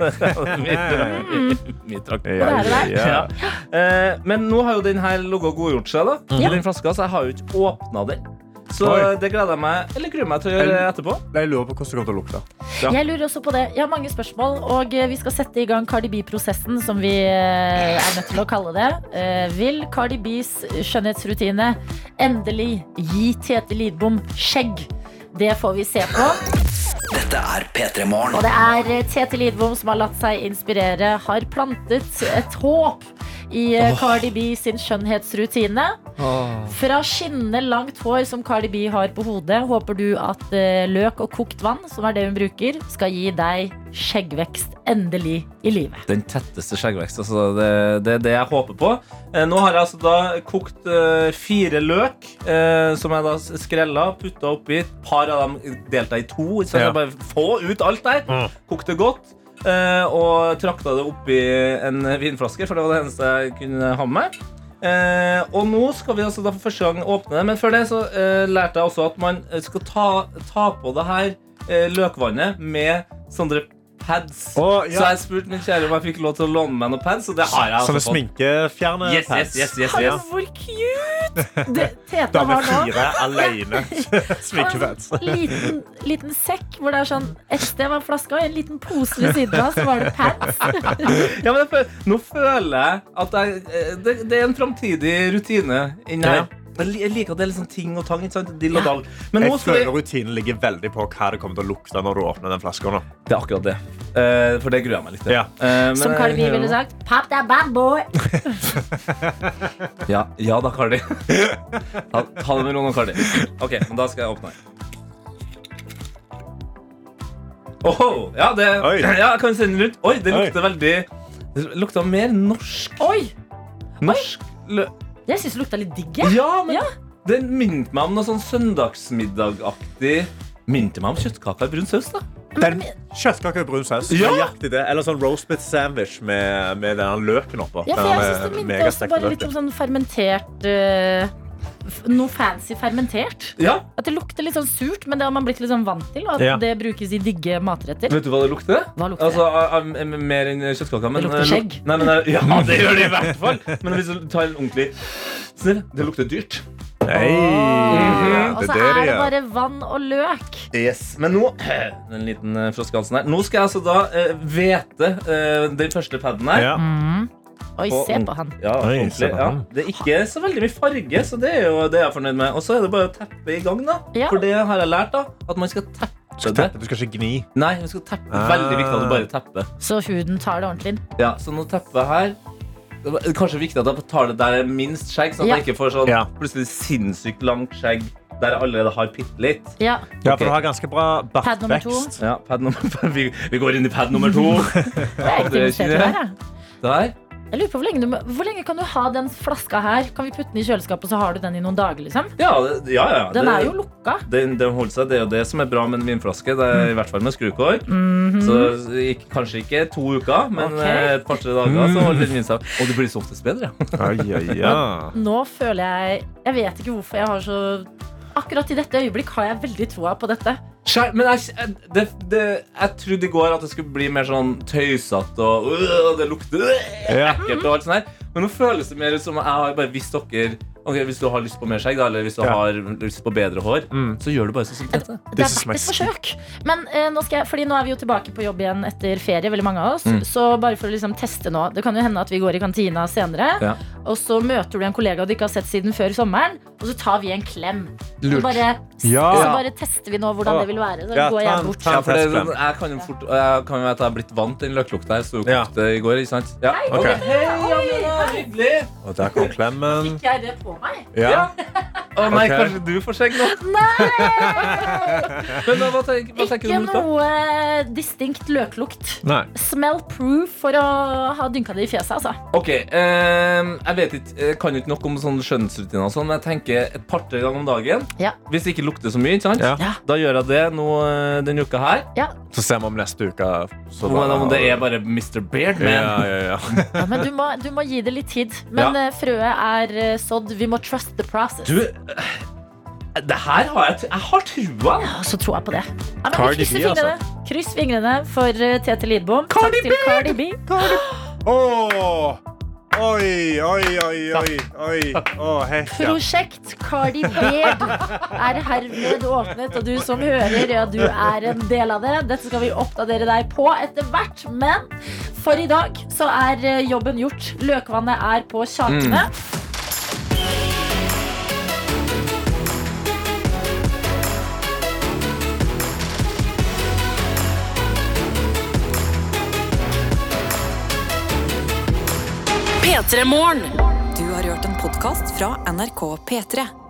Speaker 3: siste.
Speaker 2: Mye- Mye trakt.
Speaker 3: er det der.
Speaker 5: ja.
Speaker 2: Ja. Eh, men nå har jo den her ligget og godgjort seg, da.
Speaker 3: Ja.
Speaker 2: I den flaska, så jeg har jo ikke åpna den. Så
Speaker 5: Oi.
Speaker 2: det gleder jeg meg Eller gruer meg til å gjøre etterpå.
Speaker 5: Jeg lurer på hvordan det kommer til å lukte.
Speaker 3: Jeg lurer også på det. Jeg har mange spørsmål, og eh, vi skal sette i gang Cardi B-prosessen, som vi eh, er nødt til å kalle det. Eh, Vil Cardi Bs skjønnhetsrutine endelig gi Tete Lidbom skjegg? Det får vi se på.
Speaker 1: Dette er P3 Morgen.
Speaker 3: Og det er eh, Tete Lidbom som har latt seg inspirere, har plantet et håp i eh, Cardi B sin skjønnhetsrutine. Fra skinnende langt hår som Cardi B har på hodet, håper du at eh, løk og kokt vann, som er det hun bruker, skal gi deg skjeggvekst endelig i livet.
Speaker 2: Den tetteste skjeggvekst. Altså, det, det er det jeg håper på. Eh, nå har jeg altså da kokt eh, fire løk, eh, som jeg da s- skrella, putta oppi. Et par av dem delte jeg i to. Så jeg
Speaker 5: Ja. Mm.
Speaker 2: skal bare få ut alt der. Kokte godt. eh, og trakta det oppi en vinflaske, for det var det eneste jeg kunne ha med meg. Eh, og nå skal vi altså da for første gang åpne det, men før det så eh, lærte jeg også at man eh, skal ta, ta på det her eh, løkvannet med sånne pads.
Speaker 5: Å, ja.
Speaker 2: Så jeg spurte min kjære om jeg fikk lov til å låne meg noen pads, og det har jeg. altså
Speaker 5: Sånne
Speaker 2: fått.
Speaker 5: sminkefjerne
Speaker 2: Yes, yes, yes, yes,
Speaker 3: Hallo,
Speaker 2: yes.
Speaker 3: Altså, hvor cute! Det, Tete
Speaker 5: Dame
Speaker 3: har nå
Speaker 5: fire alene.
Speaker 3: en
Speaker 5: Sminkepads.
Speaker 3: sånn liten, liten sekk hvor det er sånn Et sted var flaska, og i en liten pose ved siden av så var det pants.
Speaker 2: Ja, men jeg føl nå føler jeg at jeg, eh, det, det er en framtidig rutine inni
Speaker 5: Ja.
Speaker 2: her. Jeg li- jeg liker at det er litt sånn ting og tang. Ikke sant? Dill og dall. Men nå
Speaker 5: Jeg
Speaker 2: skal vi
Speaker 5: føler rutinen ligger veldig på hva det kommer til å lukte når du åpner den flaska. nå.
Speaker 2: Det er akkurat det. Eh, for det gruer jeg meg litt til.
Speaker 5: Ja.
Speaker 2: Eh, men-
Speaker 3: Som Cardi B ville sagt. Pop that bad boy!
Speaker 2: Ja, ja da, Cardi. Ta, ta det med ro nå, Cardi. Ok, men da skal jeg åpne her. Oho, ja, det,
Speaker 5: Oi.
Speaker 2: ja, jeg kan sende den rundt. Oi, det
Speaker 5: Oi.
Speaker 2: lukter veldig Det lukta mer norsk.
Speaker 3: Oi!
Speaker 2: Norsk lø...
Speaker 3: Jeg syns det lukta litt digg. jeg.
Speaker 2: Ja, men
Speaker 3: Ja.
Speaker 2: den minte meg om noe sånn søndagsmiddagaktig Minte meg om kjøttkaker i brun saus, da.
Speaker 5: Den Kjøttkake og brun saus.
Speaker 2: Ja.
Speaker 5: Nøyaktig det. Eller sånn roast bit sandwich med, med denne løken oppå.
Speaker 3: Ja, for jeg syns det
Speaker 5: Den, eh,
Speaker 3: minte også
Speaker 5: megastekte
Speaker 3: bare litt
Speaker 5: løken.
Speaker 3: om sånn fermentert eh, f- Noe fancy fermentert.
Speaker 2: Ja,
Speaker 3: At det lukter litt sånn surt, men det har man blitt litt sånn vant til. Og at
Speaker 5: Ja.
Speaker 3: det brukes i digge matretter.
Speaker 2: Vet du hva det lukter?
Speaker 3: Hva lukter
Speaker 2: Altså, a- a- mer enn kjøttkaker. men- eh,
Speaker 3: Det lukter skjegg.
Speaker 2: Nei, men, ja, det gjør det i hvert fall. Men hvis du tar en ordentlig snill, det lukter dyrt. Mhm,
Speaker 5: Nei,
Speaker 3: Og
Speaker 5: det
Speaker 3: så
Speaker 5: er det det
Speaker 3: er det
Speaker 5: gjør.
Speaker 3: bare vann og løk.
Speaker 2: Yes, Men nå en liten eh, froskehalsen her Nå skal jeg altså da eh, hvete eh, den første paden her.
Speaker 5: Ja.
Speaker 3: Oi,
Speaker 2: På
Speaker 3: se
Speaker 2: ung-
Speaker 3: på han.
Speaker 2: Ja,
Speaker 5: Oi,
Speaker 2: ordentlig,
Speaker 5: se på
Speaker 2: ja.
Speaker 5: han.
Speaker 2: Det er ikke så veldig mye farge, så det er jo det jeg er fornøyd med. Og så er det bare å teppe i gang, da.
Speaker 3: Ja.
Speaker 2: For det har jeg lært, da. At man skal teppe det.
Speaker 5: Du skal ikke gni.
Speaker 2: Nei, man skal teppe.
Speaker 5: Ah.
Speaker 2: Veldig viktig at du bare tepper.
Speaker 3: Så huden tar det ordentlig inn.
Speaker 2: Ja, så nå tepper jeg her. Det er kanskje viktig at jeg tar det der jeg er minst skjegg, sånn at
Speaker 3: Ja.
Speaker 2: jeg ikke får sånn
Speaker 5: Ja.
Speaker 2: plutselig sinnssykt langt skjegg der jeg allerede har bitte litt.
Speaker 3: Ja.
Speaker 5: Ja, for du har ganske bra
Speaker 3: Pad nummer to.
Speaker 5: bartvekst.
Speaker 2: Ja, pad nummer, vi, vi går inn i pad nummer to.
Speaker 3: Jeg er
Speaker 2: det
Speaker 3: ikke
Speaker 2: er
Speaker 3: investert i
Speaker 2: ikke
Speaker 3: det
Speaker 2: det.
Speaker 3: her, jeg.
Speaker 2: Der.
Speaker 3: Jeg lurer på hvor lenge, du, må- hvor lenge kan du ha den flaska her? Kan vi putte den i kjøleskapet, så har du den i noen dager, liksom?
Speaker 2: Ja, det- ja, ja.
Speaker 3: Den
Speaker 2: det-
Speaker 3: er jo lukka.
Speaker 2: den, den holder seg, Det er jo det som er bra med en vinflaske. Det er I hvert fall med skrukår. Så ikk- kanskje ikke to uker, men
Speaker 3: Ok.
Speaker 2: eh, et par-tre dager. Så holder den vinen seg Og det blir som oftest bedre.
Speaker 5: Ai, ai, ja.
Speaker 3: Nå føler jeg Jeg vet ikke hvorfor jeg har så Akkurat i dette øyeblikk har jeg veldig troa på dette.
Speaker 2: Skjær- Men jeg, jeg- det, det, jeg trodde i går at det skulle bli mer sånn tøysete og øh, det lukter øh,
Speaker 5: Ja.
Speaker 2: ekkelt. og alt sånt her Men nå føles det mer ut som jeg har bare visst dere Ok, Hvis du har lyst på mer skjegg, da, eller hvis du
Speaker 5: Ja.
Speaker 2: har lyst på bedre hår,
Speaker 5: Mm.
Speaker 2: så gjør du bare sånn som Tete.
Speaker 3: Det er
Speaker 5: This is
Speaker 3: verdt et
Speaker 5: my
Speaker 3: forsøk. Men eh, nå, skal jeg, fordi nå er vi jo tilbake på jobb igjen etter ferie, veldig mange av oss.
Speaker 5: Mm.
Speaker 3: Så bare for å liksom teste nå Det kan jo hende at vi går i kantina senere,
Speaker 2: Ja.
Speaker 3: og så møter du en kollega du ikke har sett siden før sommeren, og så tar vi en klem. Så
Speaker 2: Lurt.
Speaker 3: bare,
Speaker 5: Ja.
Speaker 3: så bare tester vi nå hvordan det vil være. Så
Speaker 5: Ja,
Speaker 3: går
Speaker 5: ta
Speaker 3: jeg
Speaker 5: en-
Speaker 3: bort.
Speaker 5: ta
Speaker 2: Ja,
Speaker 5: en
Speaker 2: for det, er
Speaker 5: fest,
Speaker 2: sånn- jeg kan jo fort Jeg kan jo være at jeg har blitt vant til den løklukta. Jeg sto og
Speaker 5: Ja.
Speaker 2: kokte i går. ikke sant? Ja.
Speaker 5: Ok.
Speaker 2: Hei, Angela, hyggelig
Speaker 5: Og der kom klemmen.
Speaker 3: Fikk jeg det på på meg.
Speaker 5: Ja.
Speaker 2: Å nei,
Speaker 5: Ok.
Speaker 2: kanskje du får skjegg nå? Men hva, hva, tenker, hva tenker du
Speaker 3: Ikke
Speaker 2: om lukta?
Speaker 3: noe distinkt løklukt.
Speaker 5: Nei.
Speaker 3: Smell proof for å ha dynka det i fjeset, altså.
Speaker 2: Ok, ehm, jeg vet ikke, jeg kan jo ikke nok om sånne skjønnhetsrutiner og sånn, men jeg tenker et par-tre ganger om dagen.
Speaker 3: Ja.
Speaker 2: Hvis det ikke lukter så mye, ikke sant?
Speaker 5: Ja.
Speaker 3: Ja.
Speaker 2: Da gjør jeg det nå eh, denne uka her.
Speaker 5: Så ser vi om neste uke. Så
Speaker 2: Om, om det er bare Mr. Beard, men
Speaker 5: Ja, ja, ja.
Speaker 3: Ja, men du må, du må gi det litt tid. Men eh, frøet er eh, sådd. Vi må trust the process.
Speaker 2: Du, eh, det her har jeg, jeg har trua.
Speaker 3: Ja, så tror jeg på det. Ja, men
Speaker 5: Cardi
Speaker 3: vi krysser
Speaker 5: B, altså.
Speaker 3: fingrene. Kryss fingrene for eh, Tete Lidbom. Cardi Takk til Cardi B.
Speaker 5: Åh! Oi, oi, oi, oi. oi. Åh, hei. Ja.
Speaker 3: Prosjekt Cardi B er herved åpnet, og du som hører, ja, du er en del av det. Dette skal vi oppdatere deg på etter hvert, men for i dag så er eh, jobben gjort. Løkvannet er på
Speaker 5: Mm.
Speaker 3: kjakene.
Speaker 10: Du har hørt en podkast fra NRK P3.